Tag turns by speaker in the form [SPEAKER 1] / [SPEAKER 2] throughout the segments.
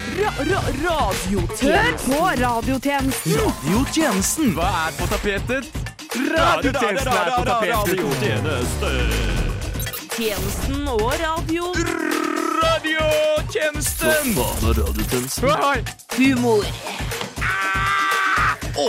[SPEAKER 1] ra, ra,
[SPEAKER 2] Hør
[SPEAKER 1] radiotjeneste.
[SPEAKER 2] på radiotjenesten!
[SPEAKER 3] Radiotjenesten. Hva er på tapetet? Radiotjenesten er på tapetet.
[SPEAKER 1] Tjenesten og radio.
[SPEAKER 3] Radiotjenesten. Hva faen er radiotjenesten?
[SPEAKER 1] Humor.
[SPEAKER 3] Ah! Å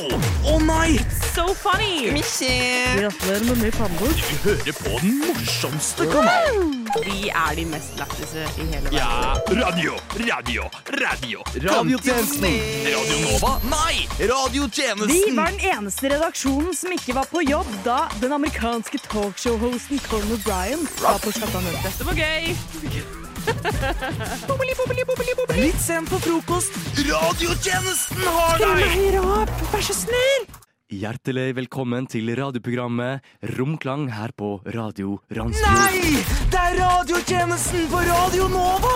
[SPEAKER 3] nei!
[SPEAKER 1] So funny.
[SPEAKER 2] Gratulerer med ny pannebok.
[SPEAKER 3] Du hører på den morsomste kanalen.
[SPEAKER 1] Vi er de mest lættise i hele verden.
[SPEAKER 3] Ja, radio, radio, radio. Radiotjenesten. Radio Nova? Nei!
[SPEAKER 2] Vi
[SPEAKER 3] Radiotjenesten.
[SPEAKER 2] var den eneste redaksjonen som ikke var på jobb da den amerikanske talkshow-hosten Conor Bryan var på skattamøte.
[SPEAKER 1] Det var gøy.
[SPEAKER 3] Litt sent på frokost. Radiotjenesten har deg!
[SPEAKER 2] Høyre opp, vær så snill!
[SPEAKER 4] Hjertelig velkommen til radioprogrammet Romklang her på Radio Ransfjord.
[SPEAKER 3] Nei! Det er radiotjenesten på Radio Nova!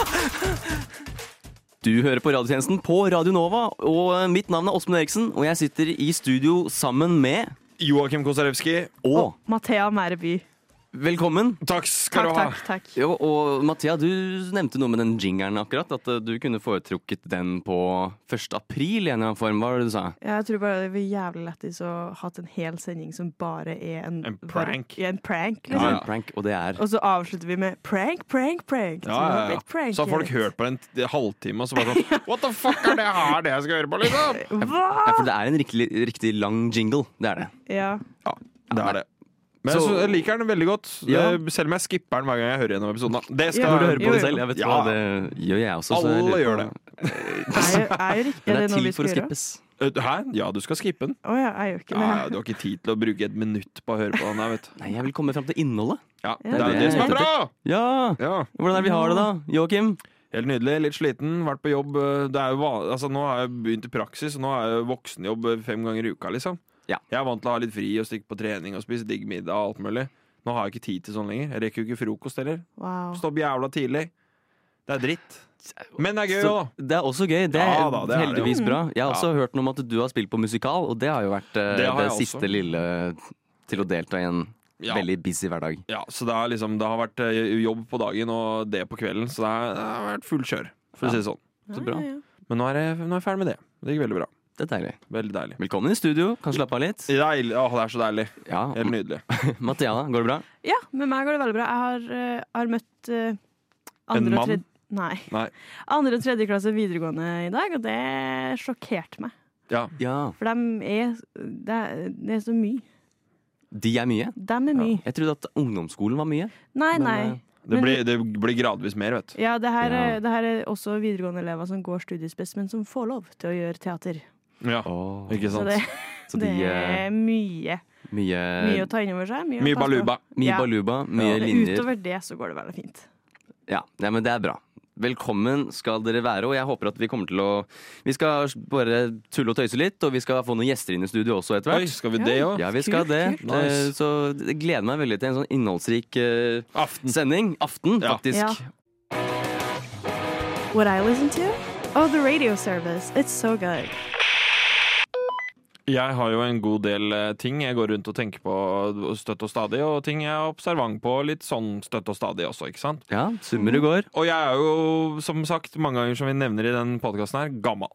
[SPEAKER 4] Du hører på radiotjenesten på Radio Nova, og eh, mitt navn er Åsmund Eriksen, og jeg sitter i studio sammen med
[SPEAKER 5] Joakim Kosarewski,
[SPEAKER 4] og
[SPEAKER 2] Mathea Mæreby.
[SPEAKER 4] velkommen.
[SPEAKER 5] takk skal
[SPEAKER 2] Takk,
[SPEAKER 5] du ha.
[SPEAKER 2] takk, takk.
[SPEAKER 4] Jo, og Mathea, du nevnte noe med den jingeren akkurat, at eh, du kunne foretrukket den på 1. april i en eller annen form, hva var det du sa?
[SPEAKER 2] Jeg tror bare det blir jævlig lættis å ha hatt en hel sending som bare er en
[SPEAKER 5] En prank.
[SPEAKER 2] Ja, en prank
[SPEAKER 4] Det
[SPEAKER 2] liksom.
[SPEAKER 4] var en prank, og det er
[SPEAKER 2] Og så avslutter vi med prank, prank, prank.
[SPEAKER 5] Ja, ja, ja. Så har folk hørt på en t- halvtime, og så bare sånn What the fuck er det her det jeg skal høre på, liksom?
[SPEAKER 2] Hva?
[SPEAKER 4] ja, for det er en riktig, riktig lang jingle, det er det.
[SPEAKER 2] Ja.
[SPEAKER 5] Ja, det er det. Men jeg,
[SPEAKER 4] Så-
[SPEAKER 5] synes, jeg liker den veldig godt,
[SPEAKER 4] Ja.
[SPEAKER 5] eh, selv om jeg skipper den hver gang jeg hører gjennom episoden. da. Det
[SPEAKER 2] Ja.
[SPEAKER 5] skal
[SPEAKER 2] Når
[SPEAKER 4] Du
[SPEAKER 2] du
[SPEAKER 4] hører på
[SPEAKER 2] Jo,
[SPEAKER 4] det
[SPEAKER 2] jo.
[SPEAKER 4] selv, jeg vet
[SPEAKER 5] Ja.
[SPEAKER 4] hva, det gjør jeg også. så jeg
[SPEAKER 5] Alle
[SPEAKER 4] lurer på-
[SPEAKER 5] gjør det.
[SPEAKER 2] Er jo, er jo riktig.
[SPEAKER 4] Men
[SPEAKER 2] Er det
[SPEAKER 4] det er
[SPEAKER 2] noe vi
[SPEAKER 4] tid for
[SPEAKER 2] skal gjøre?
[SPEAKER 4] å skippes.
[SPEAKER 5] Eh, Hæ? Ja, du skal skippe den?
[SPEAKER 2] Å ja, jeg gjør ikke det.
[SPEAKER 5] Ja, du har ikke tid til å bruke et minutt på å høre på den her, vet du.
[SPEAKER 4] Nei, jeg vil komme fram til innholdet.
[SPEAKER 2] Ja,
[SPEAKER 5] Ja, det er jo det
[SPEAKER 4] det-
[SPEAKER 5] som er bra!
[SPEAKER 4] Ja!
[SPEAKER 5] Ja,
[SPEAKER 4] Hvordan er det vi har det da, Joakim?
[SPEAKER 5] Helt nydelig. Litt sliten, vært på jobb. eh, Det er jo van altså, nå har jeg begynt i praksis, og nå har jeg voksenjobb eh, fem ganger i uka, liksom.
[SPEAKER 4] Ja.
[SPEAKER 5] Jeg er vant til å ha litt fri og stikke på trening og spise digg middag og alt mulig. Nå har jeg ikke tid til sånn lenger. Jeg rekker jo ikke frokost heller.
[SPEAKER 2] Wow.
[SPEAKER 5] Stå opp jævla tidlig. Det er dritt. Men det er gøy
[SPEAKER 4] Så,
[SPEAKER 5] òg, da.
[SPEAKER 4] det er også gøy. Det er
[SPEAKER 5] Ja da, det er det
[SPEAKER 4] heldigvis
[SPEAKER 5] jo.
[SPEAKER 4] bra. Jeg har også hørt noe om at du har spilt på musikal, og det har jo vært eh,
[SPEAKER 5] Det
[SPEAKER 4] det,
[SPEAKER 5] har jeg
[SPEAKER 4] siste
[SPEAKER 5] også.
[SPEAKER 4] lille til å delta i en
[SPEAKER 5] Ja.
[SPEAKER 4] veldig busy hverdag.
[SPEAKER 5] Ja, så det, er liksom, det har vært eh, jobb på dagen og det på kvelden, så det, er, det har vært full kjør, for å si det sånn.
[SPEAKER 4] Så bra.
[SPEAKER 5] Men nå er, jeg, nå er jeg ferdig med det. Det gikk veldig bra.
[SPEAKER 4] Det er deilig.
[SPEAKER 5] Veldig deilig.
[SPEAKER 4] Velkommen i studio. Kan slappe av litt.
[SPEAKER 5] Deilig. Åh, det er så deilig.
[SPEAKER 4] Ja,
[SPEAKER 5] Helt nydelig.
[SPEAKER 4] Mathea, går det bra?
[SPEAKER 2] Ja, med meg går det veldig bra. Jeg har, eh, har møtt eh, andre
[SPEAKER 5] En
[SPEAKER 2] og
[SPEAKER 5] mann?
[SPEAKER 2] tredje- Nei.
[SPEAKER 5] Nei.
[SPEAKER 2] Andre og tredje klasse videregående i dag, og det sjokkerte meg.
[SPEAKER 5] Ja.
[SPEAKER 4] Ja.
[SPEAKER 2] For dem er, det er, det er så mye.
[SPEAKER 4] De er mye.
[SPEAKER 2] Dem er mye.
[SPEAKER 4] Jeg trodde at ungdomsskolen var mye.
[SPEAKER 2] Nei,
[SPEAKER 4] Men,
[SPEAKER 2] nei.
[SPEAKER 4] eh,
[SPEAKER 5] Det
[SPEAKER 2] Men-
[SPEAKER 5] blir, det blir gradvis mer, vet du.
[SPEAKER 2] Ja, det her,
[SPEAKER 4] Ja.
[SPEAKER 2] er- det her er også videregående-elever som går studiespes, men som får lov til å gjøre teater.
[SPEAKER 5] Ja,
[SPEAKER 4] Åh,
[SPEAKER 5] ikke
[SPEAKER 2] Så
[SPEAKER 5] sant?
[SPEAKER 2] det,
[SPEAKER 4] Sånn. så de
[SPEAKER 2] det
[SPEAKER 4] eh,
[SPEAKER 2] er mye.
[SPEAKER 4] Mye,
[SPEAKER 2] Mye å ta inn over seg. Mye, å
[SPEAKER 5] Mye
[SPEAKER 2] passe på.
[SPEAKER 5] baluba.
[SPEAKER 4] mye
[SPEAKER 2] Ja.
[SPEAKER 4] baluba, mye linjer.
[SPEAKER 2] Utover det så går det veldig fint.
[SPEAKER 4] Ja, nei, men det er bra. Velkommen skal dere være, og jeg håper at vi kommer til å Vi skal bare tulle og tøyse litt, og vi skal få noen gjester inn i studio også etter
[SPEAKER 5] Oi,
[SPEAKER 4] hvert.
[SPEAKER 5] skal vi det òg?
[SPEAKER 4] Ja, vi skal
[SPEAKER 2] Kult,
[SPEAKER 4] det.
[SPEAKER 2] kult.
[SPEAKER 4] Eh,
[SPEAKER 5] Nice.
[SPEAKER 4] Så jeg gleder meg veldig til en sånn innholdsrik eh,
[SPEAKER 5] Aften.
[SPEAKER 4] sending. Aften,
[SPEAKER 5] Ja.
[SPEAKER 4] faktisk.
[SPEAKER 2] Ja. What I listen to? Oh, the radio service. It's so good.
[SPEAKER 5] Jeg har jo en god del eh, ting jeg går rundt og tenker på og støtt og stadig, og ting jeg er observant på litt sånn støtt og stadig også, ikke sant?
[SPEAKER 4] Ja, summer og går.
[SPEAKER 5] Og jeg er jo, som sagt, mange ganger som vi nevner i den podkasten her, gammel.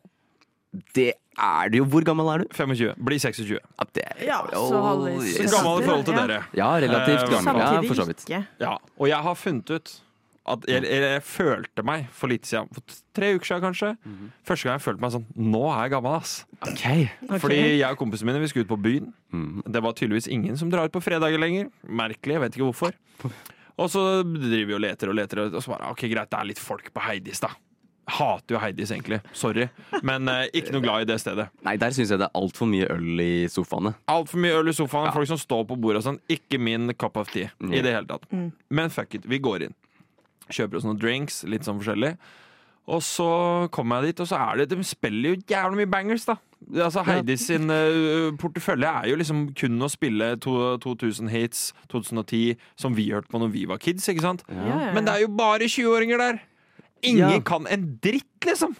[SPEAKER 4] Det er det jo. Hvor gammel er du?
[SPEAKER 5] 25. Blir 26.
[SPEAKER 4] Ja, det er,
[SPEAKER 2] Ja, så halvveis.
[SPEAKER 4] yes.
[SPEAKER 5] Gammel i forhold til
[SPEAKER 2] Ja.
[SPEAKER 5] dere.
[SPEAKER 4] Ja, relativt
[SPEAKER 5] Eh,
[SPEAKER 4] gammel. Ja,
[SPEAKER 2] Samtidig
[SPEAKER 4] for så vidt.
[SPEAKER 2] ikke.
[SPEAKER 5] Ja, og jeg har funnet ut at jeg, jeg, jeg følte meg for litt siden, for tre uker siden kanskje, første gang jeg følte meg sånn, nå er jeg gammel, ass.
[SPEAKER 4] Ok.
[SPEAKER 2] Ok.
[SPEAKER 5] Fordi jeg og kompisene mine, vi skulle ut på byen.
[SPEAKER 4] Mhm.
[SPEAKER 5] Det var tydeligvis ingen som drar ut på fredager lenger. Merkelig, jeg vet ikke hvorfor. Og så driver vi og leter og leter, og så bare, ok, greit, det er litt folk på Heidis da. Hater jo Heidis egentlig, sorry. Men eh, ikke noe glad i det stedet.
[SPEAKER 4] Nei, der syns jeg det er altfor mye øl i sofaene.
[SPEAKER 5] Altfor mye øl i sofaen, folk som står på bordet og sånn. Ikke min cup of tea i det hele tatt.
[SPEAKER 2] Mm.
[SPEAKER 5] Men fuck it, vi går inn. Kjøper oss noen drinks, litt sånn forskjellig. Og så kommer jeg dit, og så er det De spiller jo jævlig mye bangers, da. Altså Heidis sin eh, portefølje er jo liksom kun å spille to, 2000 hits, 2010, som vi hørte på når vi var kids, ikke sant?
[SPEAKER 2] Ja, ja, ja.
[SPEAKER 5] Men det er jo bare 20-åringer der! Ingen
[SPEAKER 4] Ja.
[SPEAKER 5] kan en dritt, liksom!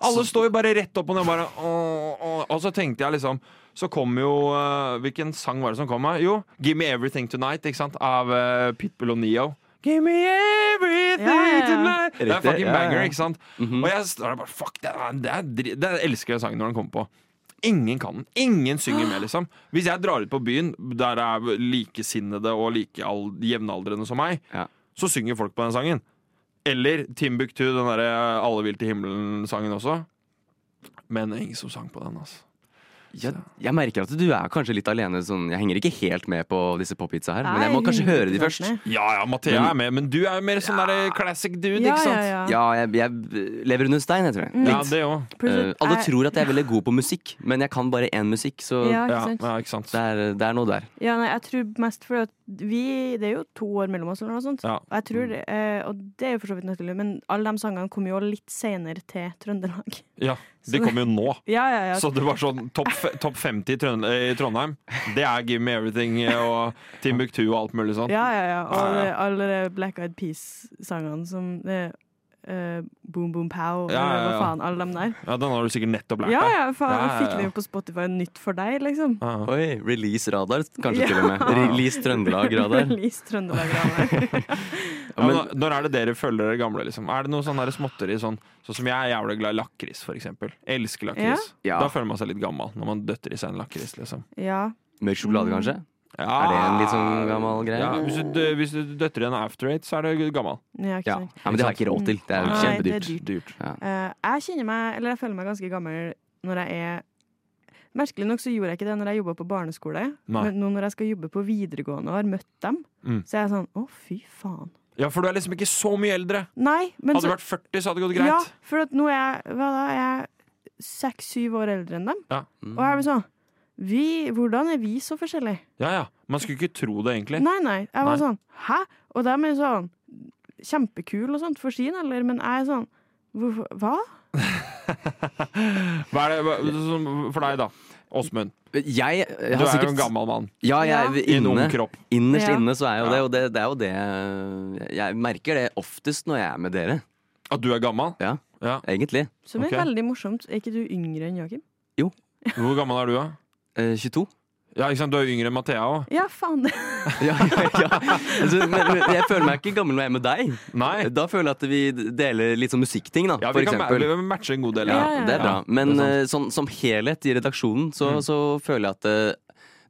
[SPEAKER 5] Alle står jo bare rett opp og ned. Bare, «Åh, åh». Og så tenkte jeg liksom Så kom jo eh, Hvilken sang var det som kom? da? Jo, 'Give Me Everything Tonight' ikke sant? av eh, Pitbull og Neo. Give me everything
[SPEAKER 6] Ja, ja, ja.
[SPEAKER 5] tonight. Det er
[SPEAKER 4] Riktig, ja,
[SPEAKER 5] fucking
[SPEAKER 4] ja. Mhm.
[SPEAKER 5] banger, ikke sant? Og jeg står der bare Fuck, det er, det er dri- det elsker jeg sangen når den kommer på. Ingen kan den. Ingen synger med, liksom. Hvis jeg drar ut på byen der det er likesinnede og like al- jevnaldrende som meg,
[SPEAKER 4] Ja.
[SPEAKER 5] så synger folk på den sangen. Eller Timbuktu, den derre eh, Alle vil til himmelen-sangen også. Men ingen som sang på den, altså.
[SPEAKER 4] Jeg, jeg merker at du er kanskje litt alene. Sånn, jeg henger ikke helt med på disse pophitsa her, men jeg må kanskje høre de først.
[SPEAKER 5] Ja ja, Mathea
[SPEAKER 4] Men-
[SPEAKER 5] er med, men du er jo mer sånn der classic dude,
[SPEAKER 6] Ja,
[SPEAKER 5] ikke
[SPEAKER 6] ja,
[SPEAKER 5] sant? Ja,
[SPEAKER 6] ja. Mm.
[SPEAKER 4] Ja, jeg, jeg lever under stein, jeg tror jeg. Litt.
[SPEAKER 5] det òg.
[SPEAKER 4] Eh, alle tror at jeg er veldig god på musikk, men jeg kan bare én musikk, så
[SPEAKER 6] ja, ikke
[SPEAKER 5] Ja,
[SPEAKER 6] sant?
[SPEAKER 5] ja, ikke sant.
[SPEAKER 4] det, er, det er noe der.
[SPEAKER 6] Ja, nei, jeg tror mest fordi at vi Det er jo to år mellom oss, eller noe sånt.
[SPEAKER 5] Ja.
[SPEAKER 6] Og Jeg tror, det, eh, og det er jo for så vidt naturlig, men alle de sangene kom jo litt senere til Trøndelag.
[SPEAKER 5] Ja, de kommer jo nå.
[SPEAKER 6] Ja, ja, ja.
[SPEAKER 5] Så det var sånn topp fe- topp 50 i Trøn- eh, i Trondheim. Det er Give Me Everything eh, og Timbuktu og alt mulig sånn.
[SPEAKER 6] ja, ja, ja. Og
[SPEAKER 5] Ja,
[SPEAKER 6] alle,
[SPEAKER 5] ja.
[SPEAKER 6] alle de Black Eyed Peas-sangene som det, eh, Boom Boom Pow,
[SPEAKER 5] Ja,
[SPEAKER 6] eller
[SPEAKER 5] ja, ja.
[SPEAKER 6] hva faen, alle de der.
[SPEAKER 5] Ja, Den har du sikkert nettopp lært
[SPEAKER 6] Ja,
[SPEAKER 5] deg.
[SPEAKER 6] ja, faen,
[SPEAKER 5] Ja, ja,
[SPEAKER 6] fikk
[SPEAKER 5] ja. Ah,
[SPEAKER 6] det jo på Spotify nytt for deg, liksom.
[SPEAKER 5] Ja.
[SPEAKER 4] Oi, Release Radar, kanskje
[SPEAKER 6] Ja.
[SPEAKER 4] til og med. Release Trøndelag-radar.
[SPEAKER 6] Release Trøndelag-radar.
[SPEAKER 5] Ja, men når- når er det dere føler dere gamle? liksom? Er det noe sånn der småtteri sånn, sånn som jeg er jævlig glad i lakris, for eksempel. Elsker lakris.
[SPEAKER 4] Ja.
[SPEAKER 5] Da føler man seg litt gammel, når man døtter i seg en lakris, liksom.
[SPEAKER 6] ja.
[SPEAKER 4] Mørk sjokolade, kanskje?
[SPEAKER 5] Ja.
[SPEAKER 4] Er det en litt sånn gammel greie?
[SPEAKER 5] Ja, hvis, du, dø- hvis du døtter i en after eight, så er det gammel.
[SPEAKER 6] ja, ikke
[SPEAKER 4] Ja.
[SPEAKER 6] sant.
[SPEAKER 4] ja, men det har jeg ikke råd til. Det er jo
[SPEAKER 6] Nei, det
[SPEAKER 4] kjempedyrt.
[SPEAKER 6] er dyrt.
[SPEAKER 5] Dyrt.
[SPEAKER 6] Eh, jeg kjenner meg, eller jeg føler meg ganske gammel når jeg er Merkelig nok så gjorde jeg ikke det når jeg jobba på barneskole,
[SPEAKER 5] Nei.
[SPEAKER 6] men nå når jeg skal jobbe på videregående og har møtt dem,
[SPEAKER 5] Mm.
[SPEAKER 6] så er jeg sånn å, fy faen.
[SPEAKER 5] Ja, for du er liksom ikke så mye eldre.
[SPEAKER 6] Nei, men
[SPEAKER 5] Hadde du
[SPEAKER 6] så-
[SPEAKER 5] vært 40, så hadde det gått greit.
[SPEAKER 6] Ja, for at nå er jeg hva da, jeg er seks-syv år eldre enn dem,
[SPEAKER 5] Ja.
[SPEAKER 6] og jeg blir sånn vi, Hvordan er vi så forskjellige?
[SPEAKER 5] Ja, ja. Man skulle ikke tro det, egentlig.
[SPEAKER 6] Nei, nei. Jeg var
[SPEAKER 5] Nei.
[SPEAKER 6] sånn Hæ? Og de er sånn kjempekule og sånt for sin alder, men jeg er sånn hvorfor, Hva?
[SPEAKER 5] Hva er det hva, som- for deg, da? Åsmund,
[SPEAKER 4] Jeg,
[SPEAKER 5] du
[SPEAKER 4] jeg har
[SPEAKER 5] er jo en
[SPEAKER 4] sikkert
[SPEAKER 5] gammel mann
[SPEAKER 4] Ja, jeg,
[SPEAKER 5] i en ung
[SPEAKER 4] inne,
[SPEAKER 5] kropp.
[SPEAKER 4] innerst
[SPEAKER 6] Ja.
[SPEAKER 4] inne så er jeg jo det,
[SPEAKER 5] Ja.
[SPEAKER 4] og det, det er jo det eh, Jeg merker det oftest når jeg er med dere,
[SPEAKER 5] At du er gammel?
[SPEAKER 4] Ja.
[SPEAKER 5] Ja.
[SPEAKER 4] egentlig.
[SPEAKER 6] Som
[SPEAKER 5] Ok.
[SPEAKER 6] er veldig morsomt. Er ikke du yngre enn Joakim?
[SPEAKER 5] Hvor gammel er du, da?
[SPEAKER 4] Eh, 22.
[SPEAKER 5] Ja, ikke sant? Du er jo yngre enn Mathea òg.
[SPEAKER 6] Ja, faen.
[SPEAKER 4] Ja, ja, ja. Altså, men, men jeg føler meg ikke gammel når jeg er med deg.
[SPEAKER 5] Nei.
[SPEAKER 4] Da føler jeg at vi deler litt sånn musikkting, da,
[SPEAKER 5] Ja,
[SPEAKER 4] for
[SPEAKER 5] vi kan ma-
[SPEAKER 4] eksempel.
[SPEAKER 5] vi kan matche en god del.
[SPEAKER 4] Ja,
[SPEAKER 5] Ja.
[SPEAKER 6] ja, ja.
[SPEAKER 4] det er bra.
[SPEAKER 5] Ja,
[SPEAKER 4] Men
[SPEAKER 5] det Mm.
[SPEAKER 4] eh, sånn, som helhet i redaksjonen så, så føler jeg at eh,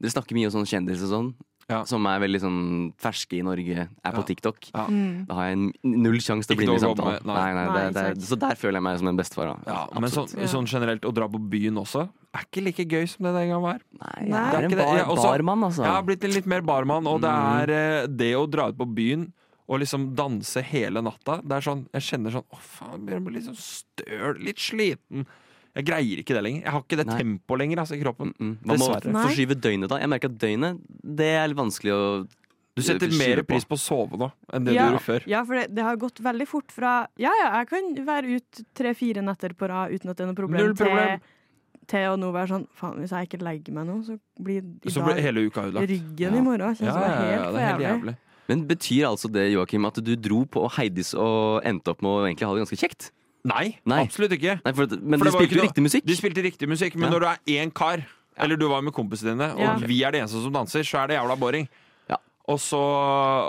[SPEAKER 4] dere snakker mye om sånn kjendis og sånn.
[SPEAKER 5] Ja.
[SPEAKER 4] Som er veldig sånn ferske i Norge, er på
[SPEAKER 5] Ja.
[SPEAKER 4] TikTok.
[SPEAKER 5] Ja.
[SPEAKER 6] Mm.
[SPEAKER 4] Da har jeg n- null sjanse til å
[SPEAKER 5] Ikke
[SPEAKER 4] bli med i
[SPEAKER 5] noe å gå
[SPEAKER 4] samtalen.
[SPEAKER 5] med, nei.
[SPEAKER 4] Nei, nei, det,
[SPEAKER 6] Nei,
[SPEAKER 4] det, er- så der føler jeg meg som en bestefar. Da.
[SPEAKER 5] Ja, men sånn,
[SPEAKER 6] Ja.
[SPEAKER 5] sånn generelt, å dra på byen også er ikke like gøy som det den gang var.
[SPEAKER 4] Nei, jeg
[SPEAKER 5] Det er
[SPEAKER 6] Nei.
[SPEAKER 4] er en
[SPEAKER 5] ikke det.
[SPEAKER 4] bar,
[SPEAKER 5] Jeg er også-
[SPEAKER 4] barmann, altså.
[SPEAKER 5] Jeg har blitt litt mer barmann, og det er eh, det å dra ut på byen og liksom danse hele natta Det er sånn, Jeg kjenner sånn Å, faen, jeg blir litt sånn støl, litt sliten. Jeg greier ikke det lenger. Jeg har ikke det
[SPEAKER 4] Nei.
[SPEAKER 5] tempoet lenger altså, i kroppen.
[SPEAKER 4] Mm, man må
[SPEAKER 5] Dessverre.
[SPEAKER 6] Nei.
[SPEAKER 4] forskyve døgnet, da. Jeg merker at døgnet, det er litt vanskelig å
[SPEAKER 5] Du setter
[SPEAKER 4] forskyve
[SPEAKER 5] mer
[SPEAKER 4] på.
[SPEAKER 5] pris på å sove nå enn det
[SPEAKER 6] Ja.
[SPEAKER 5] du gjorde før.
[SPEAKER 6] Ja, for det, det har gått veldig fort fra Ja, ja, jeg kan være ute tre-fire netter på rad uten at det er noe problem,
[SPEAKER 5] Null problem.
[SPEAKER 6] Til, til å nå være sånn Faen, hvis jeg ikke legger meg nå, så blir i
[SPEAKER 5] Så ble
[SPEAKER 6] dag
[SPEAKER 5] hele uka ødelagt.
[SPEAKER 6] ryggen
[SPEAKER 4] Ja.
[SPEAKER 6] i morgen kjennes
[SPEAKER 5] Ja,
[SPEAKER 6] som
[SPEAKER 5] ja, ja,
[SPEAKER 6] helt
[SPEAKER 5] det er
[SPEAKER 6] for
[SPEAKER 5] helt
[SPEAKER 6] jævlig.
[SPEAKER 5] jævlig.
[SPEAKER 4] Men betyr altså det, Joakim, at du dro på Heidis og endte opp med å egentlig ha det ganske kjekt?
[SPEAKER 5] Nei,
[SPEAKER 4] Nei.
[SPEAKER 5] absolutt ikke.
[SPEAKER 4] Nei, for, at- men
[SPEAKER 5] For
[SPEAKER 4] du
[SPEAKER 5] det var jo
[SPEAKER 4] spilte jo
[SPEAKER 5] ikke
[SPEAKER 4] riktig musikk.
[SPEAKER 5] Du spilte riktig musikk, men
[SPEAKER 4] Ja.
[SPEAKER 5] når du er én kar, eller du var med kompisene dine, og
[SPEAKER 6] Ja.
[SPEAKER 5] vi er de eneste som danser, så er det jævla boring.
[SPEAKER 4] Ja.
[SPEAKER 5] Og så,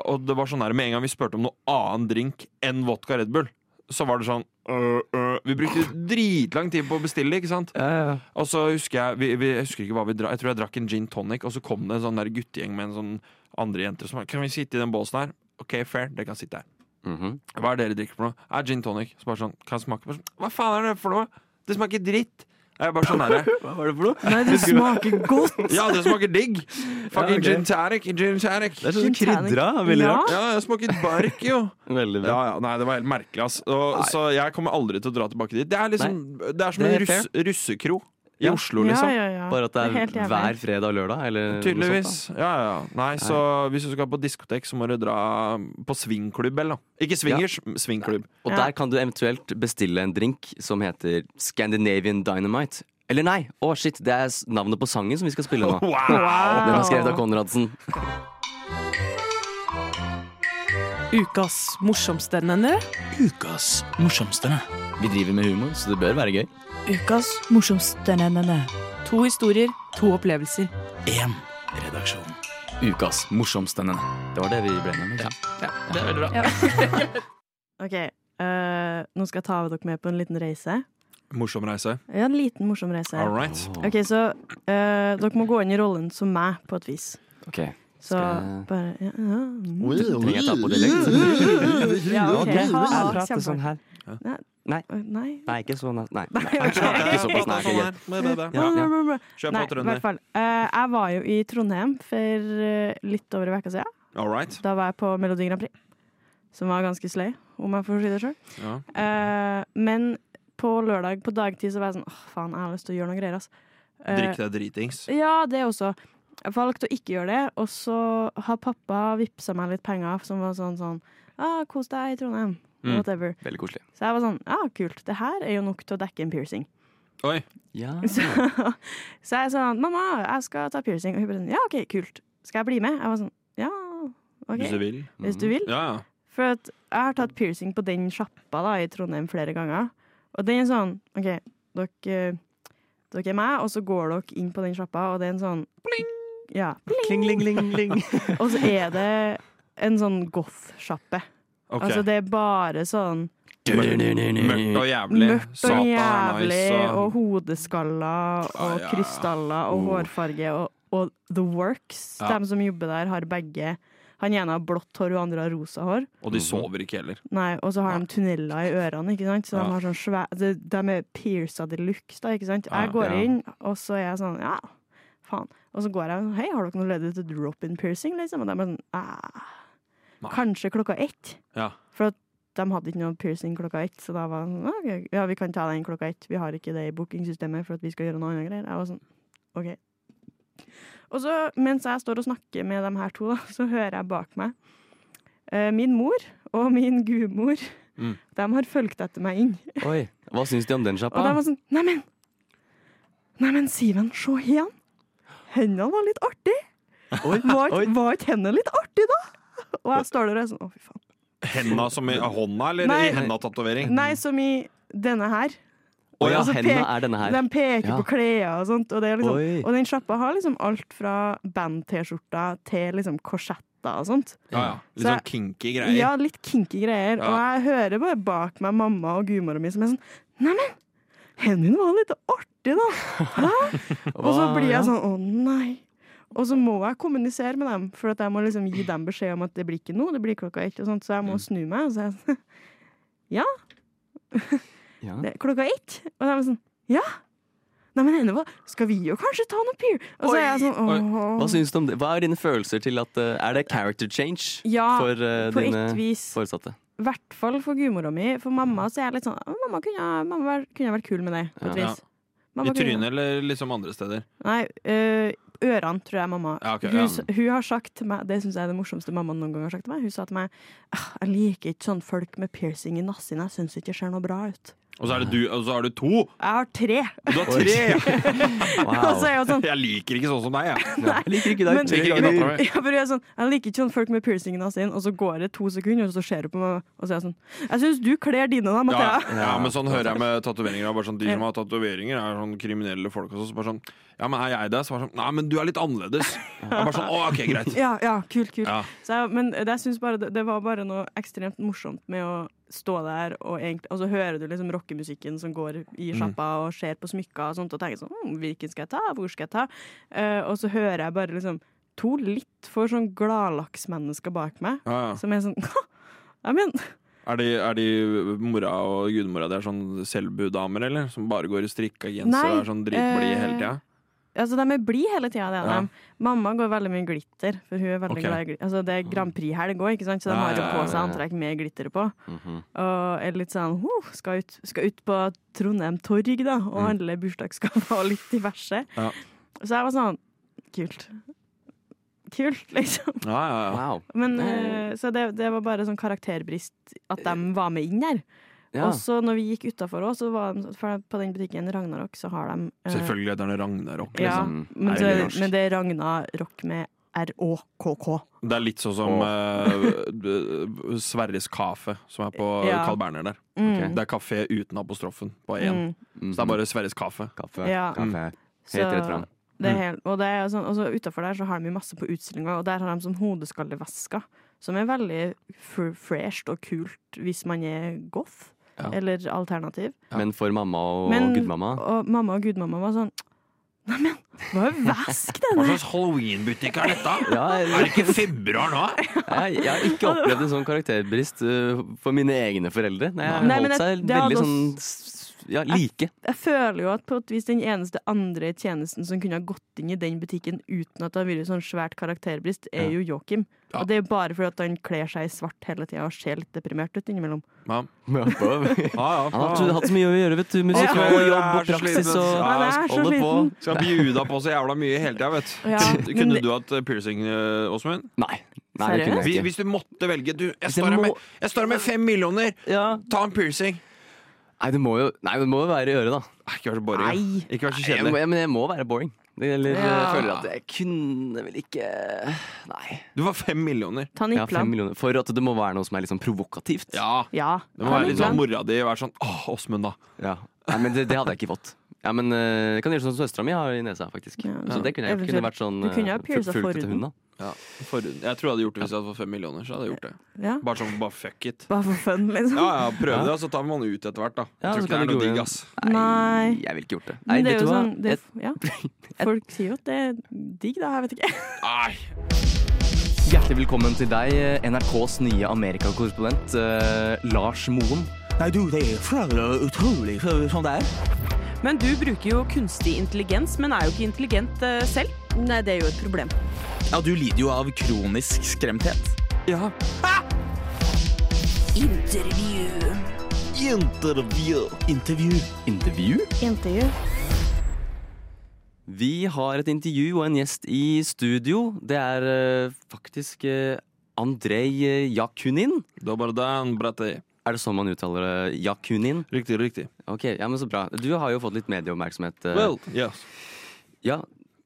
[SPEAKER 5] og det var sånn der, Med en gang vi spurte om noe annen drink enn vodka Red Bull, så var det sånn øh, øh. Vi brukte dritlang tid på å bestille, ikke sant? Og så husker jeg vi, vi, Jeg husker ikke hva vi dra, Jeg tror jeg drakk en gin tonic, og så kom det en sånn der guttegjeng med en sånn andre jenter som bare, Kan vi sitte i den båsen her? OK, fair, dere kan sitte her.
[SPEAKER 4] Mhm.
[SPEAKER 5] Hva er det dere drikker for noe? Er gin tonic. Så bare sånn, kan jeg smake? Bare sånn, Hva faen er det for noe? Det smaker dritt. Jeg er bare sånn herre.
[SPEAKER 4] Hva var det for noe?
[SPEAKER 6] Nei, det smaker godt!
[SPEAKER 5] Ja, det smaker digg. Fucking
[SPEAKER 4] ok.
[SPEAKER 5] gin tonic, gin tonic.
[SPEAKER 4] Det er sånn
[SPEAKER 6] Gin tonic.
[SPEAKER 4] krydra. Veldig
[SPEAKER 6] Ja.
[SPEAKER 4] rart.
[SPEAKER 5] Ja, det smaker bark, jo.
[SPEAKER 4] Veldig bra.
[SPEAKER 5] Ja, ja, nei, det var helt merkelig, ass. Og,
[SPEAKER 4] Nei.
[SPEAKER 5] så jeg kommer aldri til å dra tilbake dit. Det er liksom, det er som
[SPEAKER 4] Det
[SPEAKER 5] en
[SPEAKER 4] er fair.
[SPEAKER 5] russ, russekro i
[SPEAKER 4] Ja.
[SPEAKER 5] Oslo,
[SPEAKER 6] Ja,
[SPEAKER 5] liksom.
[SPEAKER 6] ja, ja.
[SPEAKER 4] Bare at det er,
[SPEAKER 6] helt jævlig.
[SPEAKER 4] hver fredag og lørdag? Eller noe
[SPEAKER 5] Tydeligvis.
[SPEAKER 4] sånt,
[SPEAKER 5] Ja, ja. Nei, så hvis du skal på diskotek, så må du dra på swingklubb, eller noe. Ikke swingers, swingklubb.
[SPEAKER 4] da. og
[SPEAKER 6] Ja.
[SPEAKER 4] der kan du eventuelt bestille en drink som heter Scandinavian Dynamite. Eller nei! Å, shit, det er s- navnet på sangen som vi skal spille nå.
[SPEAKER 5] Wow!
[SPEAKER 4] Den er skrevet av Konradsen.
[SPEAKER 2] Ukas morsomste, dere.
[SPEAKER 7] Ukas morsomste.
[SPEAKER 4] Vi driver med humor, så det bør være gøy.
[SPEAKER 2] Ukas morsomste, dere. To historier, to opplevelser.
[SPEAKER 7] Én redaksjon.
[SPEAKER 8] Ukas morsomste denne.
[SPEAKER 4] Det var det vi ble enige om. ikke sant?
[SPEAKER 8] Det er veldig bra.
[SPEAKER 6] Ok, eh, nå skal jeg ta dere med på en liten reise.
[SPEAKER 5] Morsom reise.
[SPEAKER 6] Ja, en liten, morsom reise.
[SPEAKER 5] All right.
[SPEAKER 6] Ok, så eh, dere må gå inn i rollen som meg, på et vis.
[SPEAKER 4] Ok,
[SPEAKER 6] Så
[SPEAKER 4] Skal jeg-
[SPEAKER 6] bare ja, ja. mm.
[SPEAKER 4] Trenger jeg ta på dialekt?
[SPEAKER 6] ja, ok.
[SPEAKER 4] Jeg
[SPEAKER 6] Ha, ha,
[SPEAKER 4] prater sånn
[SPEAKER 6] kjempe-
[SPEAKER 4] her.
[SPEAKER 6] Eh, Nei.
[SPEAKER 4] Nei, ikke sånn. Nei. nei.
[SPEAKER 6] Nei, ok.
[SPEAKER 4] Ikke såpass, nei. ikke greit. Ja,
[SPEAKER 6] Blah,
[SPEAKER 4] ja.
[SPEAKER 6] blah, blah.
[SPEAKER 5] Kjør
[SPEAKER 6] Nei,
[SPEAKER 5] på,
[SPEAKER 6] i hvert
[SPEAKER 5] Trønder.
[SPEAKER 6] fall. Eh, jeg var jo i Trondheim for eh, litt over en uke siden.
[SPEAKER 5] All right.
[SPEAKER 6] Da var jeg på Melodi Grand Prix, som var ganske sløy, om jeg får si det sjøl.
[SPEAKER 5] Ja.
[SPEAKER 6] men på lørdag på dagtid så var jeg sånn åh faen, jeg har lyst til å gjøre noe greier, ass. Eh,
[SPEAKER 5] Drikk deg dritings.
[SPEAKER 6] Ja, det også. Jeg valgte å ikke gjøre det, og så har pappa vippsa meg litt penger som var sånn sånn ah, Kos deg i Trondheim.
[SPEAKER 5] Mm.
[SPEAKER 6] Whatever.
[SPEAKER 4] Veldig koselig.
[SPEAKER 6] Så jeg var sånn Ja, ah, kult. Det her er jo nok til å dekke en piercing.
[SPEAKER 5] Oi.
[SPEAKER 4] Ja.
[SPEAKER 6] Så, så jeg sa mamma, jeg skal ta piercing. Og hun bare sånn, ja, ok, kult. Skal jeg bli med? Jeg var sånn, ja,
[SPEAKER 5] Hvis du
[SPEAKER 6] ok,
[SPEAKER 5] vil.
[SPEAKER 6] hvis du vil.
[SPEAKER 5] Ja, ja.
[SPEAKER 6] For at jeg har tatt piercing på den sjappa da, i Trondheim flere ganger. Og den er sånn, ok, dere, dere er meg, og så går dere inn på den sjappa, og det er en sånn, ja,
[SPEAKER 4] Kling, ling, ling, ling.
[SPEAKER 6] og så er det en sånn goth-sjappe.
[SPEAKER 5] Ok.
[SPEAKER 6] Altså det er bare sånn
[SPEAKER 5] Mørkt og jævlig.
[SPEAKER 6] mørkt og
[SPEAKER 5] Satan er
[SPEAKER 6] jævlig,
[SPEAKER 5] nice.
[SPEAKER 6] og
[SPEAKER 5] Og...
[SPEAKER 6] hodeskaller og
[SPEAKER 5] Ah, ja.
[SPEAKER 6] krystaller og hårfarge og, og the works.
[SPEAKER 5] Ja.
[SPEAKER 6] De som jobber der, har begge. Han ene har blått hår, og andre har rosa hår.
[SPEAKER 5] og de sover ikke heller.
[SPEAKER 6] Nei, Og så har de tunneler i ørene, ikke sant? så
[SPEAKER 5] Ja.
[SPEAKER 6] de, har sånn svæ de, de er pierca de luxe. Da, ikke sant?
[SPEAKER 5] Ja,
[SPEAKER 6] Jeg går
[SPEAKER 4] ja.
[SPEAKER 6] inn, og så er jeg sånn Ja, faen. Og så går jeg sånn Hei, har dere noe ledig til drop-in piercing? Liksom? Og de er sånn «Ah,
[SPEAKER 5] Nei.
[SPEAKER 6] Kanskje klokka ett.
[SPEAKER 5] Ja.
[SPEAKER 6] For at de hadde ikke noe piercing klokka ett, så da var jeg sånn, «Ok, ja, vi kan ta den klokka ett. Vi har ikke det i bookingsystemet for at vi skal gjøre noe annet greier. Jeg var sånn, ok. Og så, mens jeg står og snakker med de her to, da, så hører jeg bak meg eh, min mor og min gudmor.
[SPEAKER 5] Mm.
[SPEAKER 6] De har fulgt etter meg inn.
[SPEAKER 4] Oi. Hva syns de om den
[SPEAKER 6] Og de
[SPEAKER 4] sjappa?
[SPEAKER 6] var sånn, neimen, neimen, Siven, se igjen. Hendene var litt artig. Var ikke- var ikke hendene litt artig da? Og jeg står der og er sånn, å fy faen.
[SPEAKER 5] Henda som i hånda, eller
[SPEAKER 6] Nei.
[SPEAKER 5] i henda-tatovering?
[SPEAKER 6] Nei, som i denne her.
[SPEAKER 4] Mm. Å ja,
[SPEAKER 6] Og så
[SPEAKER 4] henda
[SPEAKER 6] pek-
[SPEAKER 4] er denne her.
[SPEAKER 6] De peker
[SPEAKER 4] Ja.
[SPEAKER 6] på klær og sånt. Og, det er liksom,
[SPEAKER 4] Oi.
[SPEAKER 6] og den sjappa har liksom alt fra band-T-skjorta til liksom korsetter og sånt.
[SPEAKER 5] Ja, ja. Litt
[SPEAKER 6] Så-
[SPEAKER 5] sånn kinky greier.
[SPEAKER 6] Ja, litt kinky greier.
[SPEAKER 5] Ja.
[SPEAKER 6] Og jeg hører bare bak meg mamma og gudmora mi som er sånn Neimen, hendene dine var litt artig, da. Og så
[SPEAKER 4] Hva-
[SPEAKER 6] blir
[SPEAKER 4] ja.
[SPEAKER 6] jeg sånn å nei. Og så må jeg kommunisere med dem, for at jeg må liksom gi dem beskjed om at det blir ikke nå, det blir klokka ett. og sånt, Så jeg må
[SPEAKER 4] Mm.
[SPEAKER 6] snu meg. Og så er jeg sånn Ja.
[SPEAKER 4] Ja.
[SPEAKER 6] Det er klokka ett. Og de er sånn Ja. Nei, men ennå, skal vi jo kanskje ta noe peer? Og så er jeg sånn
[SPEAKER 5] Oi.
[SPEAKER 6] åh.
[SPEAKER 4] Hva syns du om det? Hva er dine følelser til at eh, Er det character change
[SPEAKER 6] Ja,
[SPEAKER 4] for eh,
[SPEAKER 6] på
[SPEAKER 4] dine
[SPEAKER 6] ett vis.
[SPEAKER 4] foresatte?
[SPEAKER 6] I hvert fall for gudmora mi. For mamma så er jeg litt sånn Mamma kunne, mamma vær- kunne vært kul med det, på et
[SPEAKER 5] Ja.
[SPEAKER 6] vis.
[SPEAKER 5] I
[SPEAKER 6] Mamma kunne-
[SPEAKER 5] trynet eller liksom andre steder?
[SPEAKER 6] Nei, øh, ørene, tror jeg mamma
[SPEAKER 5] Ja, ok,
[SPEAKER 6] hun,
[SPEAKER 5] ja.
[SPEAKER 6] s- hun har sagt til meg Det syns jeg er det morsomste mamma noen gang har sagt til meg. Hun sa til meg «Ah, Jeg liker ikke sånn folk med piercing i nassen. Jeg syns ikke det ser noe bra ut.
[SPEAKER 5] Og så er det du, og så har du to!
[SPEAKER 6] Jeg har tre!
[SPEAKER 5] Og du har tre!
[SPEAKER 6] Og så er jeg jo sånn
[SPEAKER 5] Jeg liker ikke sånn som deg, jeg.
[SPEAKER 4] Jeg liker ikke deg.
[SPEAKER 6] Men-
[SPEAKER 4] tre
[SPEAKER 5] Liker ikke
[SPEAKER 4] ganger.
[SPEAKER 5] datteren min.
[SPEAKER 6] Ja, for jeg, er sånn, jeg liker ikke sånn folk med piercing i nasen, og så går det to sekunder, og så ser hun på meg, og så er jeg sånn Jeg syns du kler dine, da,
[SPEAKER 5] Ja,
[SPEAKER 6] Mathea.
[SPEAKER 5] ja, men sånn hører jeg med tatoveringer. og Bare sånn, de som har tatoveringer, er sånn kriminelle folk. Og så bare sånn Ja, men er jeg det? Så bare sånn Nei, men du er litt annerledes. Jeg bare sånn Å, ok, greit.
[SPEAKER 6] Ja, ja, kult, kult.
[SPEAKER 5] Ja.
[SPEAKER 6] Så jeg, men det, jeg synes bare, det, det var bare noe ekstremt morsomt med å stå der, og, egentlig, og så hører du liksom rockemusikken som går i
[SPEAKER 5] Mm.
[SPEAKER 6] sjappa og ser på smykka og sånt, og tenker sånn «Hm, Hvilken skal jeg ta? Hvor skal jeg ta? Eh, og så hører jeg bare liksom to litt for sånn gladlaksmennesker bak meg,
[SPEAKER 5] Ja, ja.
[SPEAKER 6] som er sånn Ja, men
[SPEAKER 5] Er de, er de mora og gudmora der sånn selbudamer, eller? Som bare går i strikka genser og
[SPEAKER 6] Nei,
[SPEAKER 5] er sånn dritblide
[SPEAKER 6] eh,
[SPEAKER 5] hele tida?
[SPEAKER 6] Altså, de er blide hele tida, det er
[SPEAKER 5] Ja.
[SPEAKER 6] dem. Mamma går veldig mye glitter, for hun er veldig
[SPEAKER 5] Ok.
[SPEAKER 6] glad i glitter. Altså, det er Grand Prix-helg òg, ikke sant, så de
[SPEAKER 5] Ja,
[SPEAKER 6] har jo
[SPEAKER 5] ja,
[SPEAKER 6] på
[SPEAKER 5] ja,
[SPEAKER 6] seg antrekk med glitter på.
[SPEAKER 4] Mhm.
[SPEAKER 6] Og er litt sånn «Huh, skal, ut, skal ut på Trondheim Torg, da, og
[SPEAKER 4] Mm.
[SPEAKER 6] handle bursdagsgaver og litt diverse.
[SPEAKER 5] Ja.
[SPEAKER 6] Så jeg var sånn Kult. Kult, liksom.
[SPEAKER 5] Ja, ja, ja.
[SPEAKER 4] Wow.
[SPEAKER 6] Men,
[SPEAKER 4] Nei.
[SPEAKER 6] eh, så det, det var bare sånn karakterbrist at de var med inn der.
[SPEAKER 4] Ja.
[SPEAKER 6] Og så når vi gikk utafor òg, så var de sånn, for på den butikken Ragnarok, så har de eh,
[SPEAKER 5] Selvfølgelig er det en Ragnarok.
[SPEAKER 6] ja,
[SPEAKER 5] Liksom.
[SPEAKER 4] liksom. Er
[SPEAKER 6] men,
[SPEAKER 4] det
[SPEAKER 6] så,
[SPEAKER 4] mye norsk?
[SPEAKER 6] men det er Ragnarok med R-Å-K-K.
[SPEAKER 5] Det er litt sånn som eh, Sverres Kaffe, som er på
[SPEAKER 6] Ja.
[SPEAKER 5] Carl Berner der.
[SPEAKER 6] Mm.
[SPEAKER 5] Det er kafé uten apostrofen på én.
[SPEAKER 6] Mm.
[SPEAKER 5] Så det er bare Sverres Kaffe.
[SPEAKER 4] Kaffe.
[SPEAKER 6] Ja. Mm.
[SPEAKER 4] Kaffe.
[SPEAKER 6] Så-
[SPEAKER 4] Helt rett fram.
[SPEAKER 6] Det er helt, og det er sånn, altså utenfor der så har de jo masse på utstillinga, og der har de sånn hodeskallevesker. Som er veldig fr- fresht og kult hvis man er goth.
[SPEAKER 5] Ja.
[SPEAKER 6] Eller alternativ.
[SPEAKER 4] Men for mamma og
[SPEAKER 6] Men-
[SPEAKER 4] gudmamma
[SPEAKER 6] Og mamma og gudmamma var sånn Neimen, hva er vask den
[SPEAKER 5] Hva
[SPEAKER 6] der?
[SPEAKER 5] slags Halloween-butikk er dette?
[SPEAKER 4] ja,
[SPEAKER 5] Er
[SPEAKER 4] jeg,
[SPEAKER 5] det ikke februar nå?
[SPEAKER 4] jeg, jeg har ikke opplevd en sånn karakterbrist uh, for mine egne foreldre. Nei, jeg
[SPEAKER 6] Nei,
[SPEAKER 4] holdt
[SPEAKER 6] men jeg-
[SPEAKER 4] seg
[SPEAKER 6] det hadde
[SPEAKER 4] veldig sånn s- ja, like.
[SPEAKER 6] Jeg føler jo at på et vis den eneste andre i tjenesten som kunne ha gått inn i den butikken uten at det har vært sånn svært karakterbrist, er jo Joakim.
[SPEAKER 5] Ja.
[SPEAKER 6] Og det er jo bare fordi at han kler seg i svart hele tida og ser litt deprimert ut innimellom.
[SPEAKER 5] Ja,
[SPEAKER 4] Han
[SPEAKER 5] ja,
[SPEAKER 4] har hatt- hatt så mye å gjøre, vet du. Musikk og jobb og praksis og
[SPEAKER 6] Men jeg er så
[SPEAKER 4] holde på.
[SPEAKER 6] sliten.
[SPEAKER 5] Skal bjuda på så jævla mye hele tida, vet du.
[SPEAKER 6] Ja, men
[SPEAKER 5] Kunne
[SPEAKER 6] det-
[SPEAKER 5] du hatt eh, piercing, eh, Åsmund?
[SPEAKER 4] Nei, nei det kunne
[SPEAKER 5] Vi-
[SPEAKER 4] jeg ikke.
[SPEAKER 5] Hvis du måtte velge du, jeg,
[SPEAKER 4] Hvis jeg
[SPEAKER 5] står her
[SPEAKER 4] må-
[SPEAKER 5] med, jeg står her med fem millioner!
[SPEAKER 4] Ja.
[SPEAKER 5] Ta en piercing!
[SPEAKER 4] Nei, det må jo, nei, det må jo være i øret, da.
[SPEAKER 5] Nei, Ikke vær så boring.
[SPEAKER 6] Nei.
[SPEAKER 5] Ikke vær så
[SPEAKER 4] Jeg må,
[SPEAKER 5] kjedelig.
[SPEAKER 4] men jeg må være boring. Det gjelder,
[SPEAKER 5] Ja.
[SPEAKER 4] Jeg føler at jeg kunne vel ikke Nei.
[SPEAKER 5] Du får fem millioner.
[SPEAKER 6] Ta
[SPEAKER 4] Jeg har fem
[SPEAKER 6] Niplan.
[SPEAKER 4] millioner. For at det må være noe som er litt sånn provokativt.
[SPEAKER 5] Ja.
[SPEAKER 6] Ja.
[SPEAKER 5] Det må
[SPEAKER 6] ta
[SPEAKER 5] være litt
[SPEAKER 6] Niplan.
[SPEAKER 5] sånn mora di være sånn Åh, Åsmund, da.
[SPEAKER 4] Ja. Nei, men det, det hadde jeg ikke fått. Ja, men eh, Jeg kan gjøre sånn som søstera mi har i nesa, faktisk.
[SPEAKER 6] Ja.
[SPEAKER 4] Så det kunne jeg
[SPEAKER 6] Eventuelt-
[SPEAKER 4] kunne vært sånn
[SPEAKER 6] du kunne
[SPEAKER 4] eh,
[SPEAKER 6] ha piercet
[SPEAKER 4] fulgt etter
[SPEAKER 6] forhuden.
[SPEAKER 4] hunden, da.
[SPEAKER 5] For, jeg tror jeg hadde gjort det hvis jeg hadde fått fem millioner. Så hadde jeg gjort det.
[SPEAKER 6] Ja.
[SPEAKER 5] Bare sånn, bare fuck it.
[SPEAKER 6] Bare for fun, liksom.
[SPEAKER 5] Ja, ja, prøv det, og så tar man ut etter hvert, da.
[SPEAKER 4] Ja,
[SPEAKER 5] Jeg tror
[SPEAKER 4] så kan
[SPEAKER 5] ikke det er
[SPEAKER 4] det
[SPEAKER 5] noe
[SPEAKER 4] gå
[SPEAKER 5] digg,
[SPEAKER 4] igjen.
[SPEAKER 5] ass.
[SPEAKER 6] Nei.
[SPEAKER 4] Jeg ville ikke gjort det. Nei,
[SPEAKER 6] Men det er
[SPEAKER 4] vet
[SPEAKER 6] jo
[SPEAKER 4] du hva?
[SPEAKER 6] sånn det,
[SPEAKER 4] Jeg,
[SPEAKER 6] Ja. Folk sier jo at det er digg, da. Jeg vet ikke.
[SPEAKER 5] Nei.
[SPEAKER 4] hjertelig velkommen til deg, eh, NRKs nye Amerikakorrespondent eh, Lars Moen.
[SPEAKER 8] Nei, du, det er så utrolig så- sånn det er.
[SPEAKER 1] Men du bruker jo kunstig intelligens, men er jo ikke intelligent eh, selv.
[SPEAKER 6] Nei, det er jo et problem.
[SPEAKER 8] Ja, du lider jo av kronisk skremthet.
[SPEAKER 5] Ja.
[SPEAKER 8] Intervju. Intervju.
[SPEAKER 4] Intervju?
[SPEAKER 6] Intervju.
[SPEAKER 4] Vi har et intervju og en gjest i studio. Det er eh, faktisk eh, Andrej eh, Jakunin.
[SPEAKER 5] Dobar dan, brate.
[SPEAKER 4] Er det sånn man uttaler det? Jakunin?
[SPEAKER 5] Riktig, riktig.
[SPEAKER 4] Ok, ja, men så bra. Du har jo fått litt medieoppmerksomhet. eh,
[SPEAKER 5] Well, yes.
[SPEAKER 4] Ja,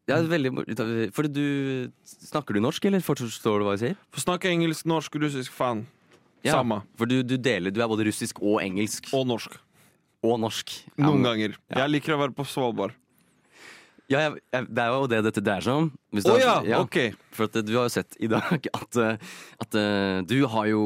[SPEAKER 4] ja veldig mor- For du Snakker du norsk, eller forstår du hva jeg sier?
[SPEAKER 5] Få snakke engelsk, norsk, russisk, faen.
[SPEAKER 4] Ja.
[SPEAKER 5] Samme.
[SPEAKER 4] For du, du deler Du er både russisk og engelsk. Og,
[SPEAKER 5] Og norsk.
[SPEAKER 4] norsk.
[SPEAKER 5] Noen
[SPEAKER 4] ja,
[SPEAKER 5] ganger. Jeg liker å være på Svalbard.
[SPEAKER 4] Ja, jeg, jeg, det er jo det dette dreier seg om. Hvis
[SPEAKER 5] Å
[SPEAKER 4] du har-
[SPEAKER 5] ja, ok.
[SPEAKER 4] For at eh, du har jo sett i dag at, eh, at eh, du har jo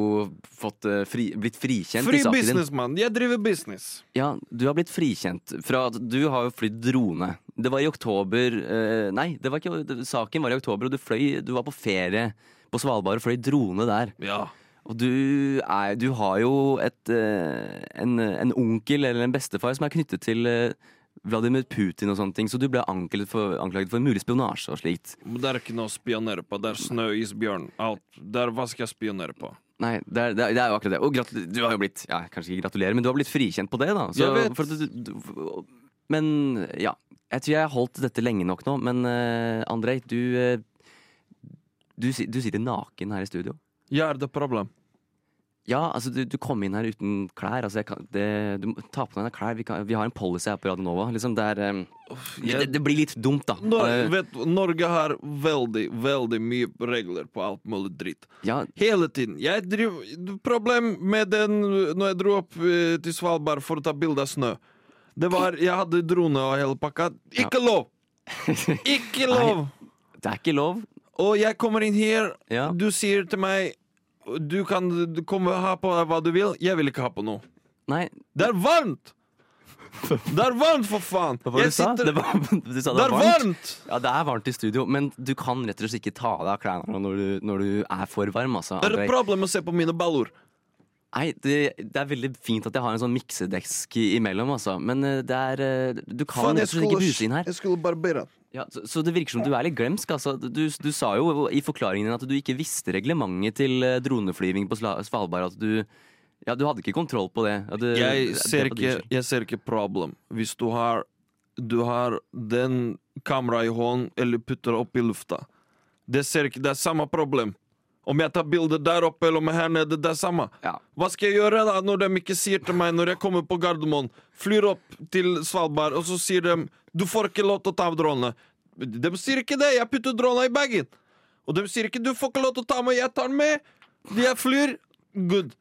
[SPEAKER 4] fått eh, fri, blitt frikjent
[SPEAKER 5] Fri
[SPEAKER 4] i saken din.
[SPEAKER 5] businessmann. Jeg driver business.
[SPEAKER 4] Ja, du har blitt frikjent fra at du har jo flydd drone. Det var i oktober eh, Nei, det var ikke, det, saken var i oktober, og du fløy Du var på ferie på Svalbard og fløy drone der.
[SPEAKER 5] Ja.
[SPEAKER 4] Og du, er, du har jo et, eh, en, en onkel eller en bestefar som er knyttet til eh, Vladimir Putin og sånne ting, så du ble anklaget for, anklaget for mulig spionasje og slikt.
[SPEAKER 5] Men Det er ikke noe å spionere på. Det er snøisbjørn. Alt. Der, hva skal jeg spionere på?
[SPEAKER 4] Nei, det er, det er, det er jo akkurat det. Og gratul- du har jo blitt ja, Kanskje ikke gratulerer, men du har blitt frikjent på det, da.
[SPEAKER 5] Jeg vet.
[SPEAKER 4] for at du, du, men ja. Jeg tror jeg har holdt dette lenge nok nå, men uh, Andrej, du, eh, du si- Du sitter naken her i studio.
[SPEAKER 5] Jeg er det problem.
[SPEAKER 4] Ja, altså du, du kom inn her uten klær. Altså, jeg kan, det, du må ta på deg noen klær. Vi, kan, vi har en policy her på Radio Nova. Liksom, det, er, em, det,
[SPEAKER 5] Jeg,
[SPEAKER 4] det blir litt dumt, da.
[SPEAKER 5] Nor
[SPEAKER 4] Eh,
[SPEAKER 5] vet, du, Norge har veldig, veldig mye regler på alt mulig dritt.
[SPEAKER 4] ja,
[SPEAKER 5] Hele tiden. Jeg driv, problem med den når jeg dro opp eh, til Svalbard for å ta bilde av snø. Det var, Jeg hadde drone og hele pakka. Ikke lov! Ikke lov!
[SPEAKER 4] det er ikke lov.
[SPEAKER 5] Og jeg kommer inn her,
[SPEAKER 4] Ja.
[SPEAKER 5] du sier til meg Du kan du kommer ha på deg hva du vil. Jeg vil ikke ha på noe.
[SPEAKER 4] Nei,
[SPEAKER 5] Det er varmt! Det er varmt, for faen!
[SPEAKER 4] hva var det
[SPEAKER 5] Jeg
[SPEAKER 4] du sa?
[SPEAKER 5] sitter-
[SPEAKER 4] Det, var, du sa det,
[SPEAKER 5] det er varmt!
[SPEAKER 4] Ja, det er varmt i studio, men du kan rett og slett ikke ta av deg klærne når du, når du er for varm. Altså,
[SPEAKER 5] Det er
[SPEAKER 4] Andrej.
[SPEAKER 5] et problem å se på mine baller.
[SPEAKER 4] Nei, det, det er veldig fint at jeg har en sånn miksedesk i- imellom, altså. Men eh, det er eh, Du kan
[SPEAKER 5] Faen, jeg
[SPEAKER 4] rett og slett ikke
[SPEAKER 5] skulle-
[SPEAKER 4] buse inn her.
[SPEAKER 5] Jeg skulle barbere.
[SPEAKER 4] Ja, så, så det virker som du er litt glemsk, altså. Du, du sa jo i forklaringen din at du ikke visste reglementet til eh, droneflyvning på Sla- Svalbard. At du Ja, du hadde ikke kontroll på det. Ja, det-
[SPEAKER 5] Jeg
[SPEAKER 4] Eh, det-
[SPEAKER 5] ser
[SPEAKER 4] det var din
[SPEAKER 5] ikke,
[SPEAKER 4] skyld.
[SPEAKER 5] jeg ser ikke problem hvis du har Du har den kameraet i hånden eller putter opp i lufta. Det, ser ikke, det er samme problem. Om jeg tar bilde der oppe eller om her nede, det er samme.
[SPEAKER 4] Ja.
[SPEAKER 5] Hva skal jeg gjøre da når de ikke sier til meg når jeg kommer på Gardermoen, flyr opp til Svalbard, og så sier de 'du får ikke lov til å ta av drone'? De sier ikke det! Jeg putter drona i bagen! Og de sier ikke 'du får ikke lov til å ta med', jeg tar den med! Jeg flyr! Good.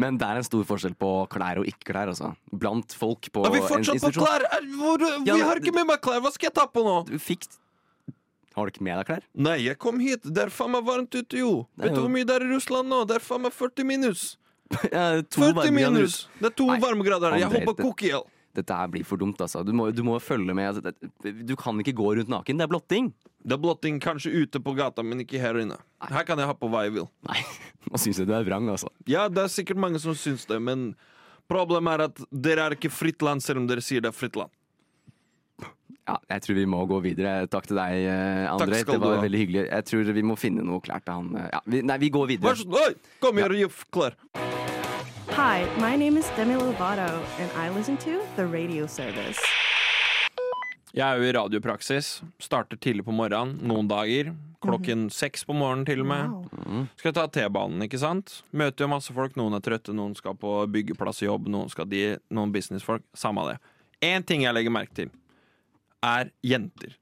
[SPEAKER 4] Men det er en stor forskjell på klær og ikke klær, altså. Blant folk på
[SPEAKER 5] Er vi
[SPEAKER 4] en
[SPEAKER 5] fortsatt på
[SPEAKER 4] institusjon.
[SPEAKER 5] klær? Er- Hvor, vi
[SPEAKER 4] Ja, men-
[SPEAKER 5] har ikke med meg klær! Hva skal jeg ta på nå?
[SPEAKER 4] Du fikk Har du ikke med deg klær?
[SPEAKER 5] Nei, jeg kom hit. Det er faen meg varmt ute, jo.
[SPEAKER 4] Det er
[SPEAKER 5] Vet du
[SPEAKER 4] jo-
[SPEAKER 5] hvor mye det er i Russland nå? Det er faen meg 40 minus.
[SPEAKER 4] Ja, to
[SPEAKER 5] 40
[SPEAKER 4] varmegrader
[SPEAKER 5] minus!
[SPEAKER 4] ut.
[SPEAKER 5] Det er to
[SPEAKER 4] Nei,
[SPEAKER 5] varmegrader. Jeg
[SPEAKER 4] André,
[SPEAKER 5] håper
[SPEAKER 4] det-
[SPEAKER 5] kokk i hjel.
[SPEAKER 4] Dette her blir for dumt, altså. Du må, du må følge med. Altså, Du kan ikke gå rundt naken. Det er blotting.
[SPEAKER 5] Det er blotting kanskje ute på gata, men ikke her inne. Her kan jeg ha på hva jeg vil.
[SPEAKER 4] Nei, nå syns jeg du er vrang, altså.
[SPEAKER 5] Ja, det er sikkert mange som syns det, men problemet er at dere er ikke fritt land, selv om dere sier det er fritt land.
[SPEAKER 4] Ja, jeg tror vi må gå videre. Takk til deg, eh,
[SPEAKER 5] Takk
[SPEAKER 4] André.
[SPEAKER 5] skal
[SPEAKER 4] Det
[SPEAKER 5] du
[SPEAKER 4] var
[SPEAKER 5] ha.
[SPEAKER 4] veldig hyggelig. Jeg tror vi må finne noe klær til han. eh, Ja, vi, nei, vi går
[SPEAKER 5] Vær
[SPEAKER 4] videre.
[SPEAKER 5] så snill, oi, kom her og gi f- klær.
[SPEAKER 6] Hi, my name is Demi Lovato, and I listen to the radio service.
[SPEAKER 5] Jeg er jo i radiopraksis. Starter tidlig på morgenen noen dager. Klokken seks på morgenen, til og med. Skal jeg ta T-banen, ikke sant? Møter jo masse folk. Noen er trøtte, noen skal på byggeplass og jobb, noen skal de, noen businessfolk. Samme det. Én ting jeg legger merke til, er jenter.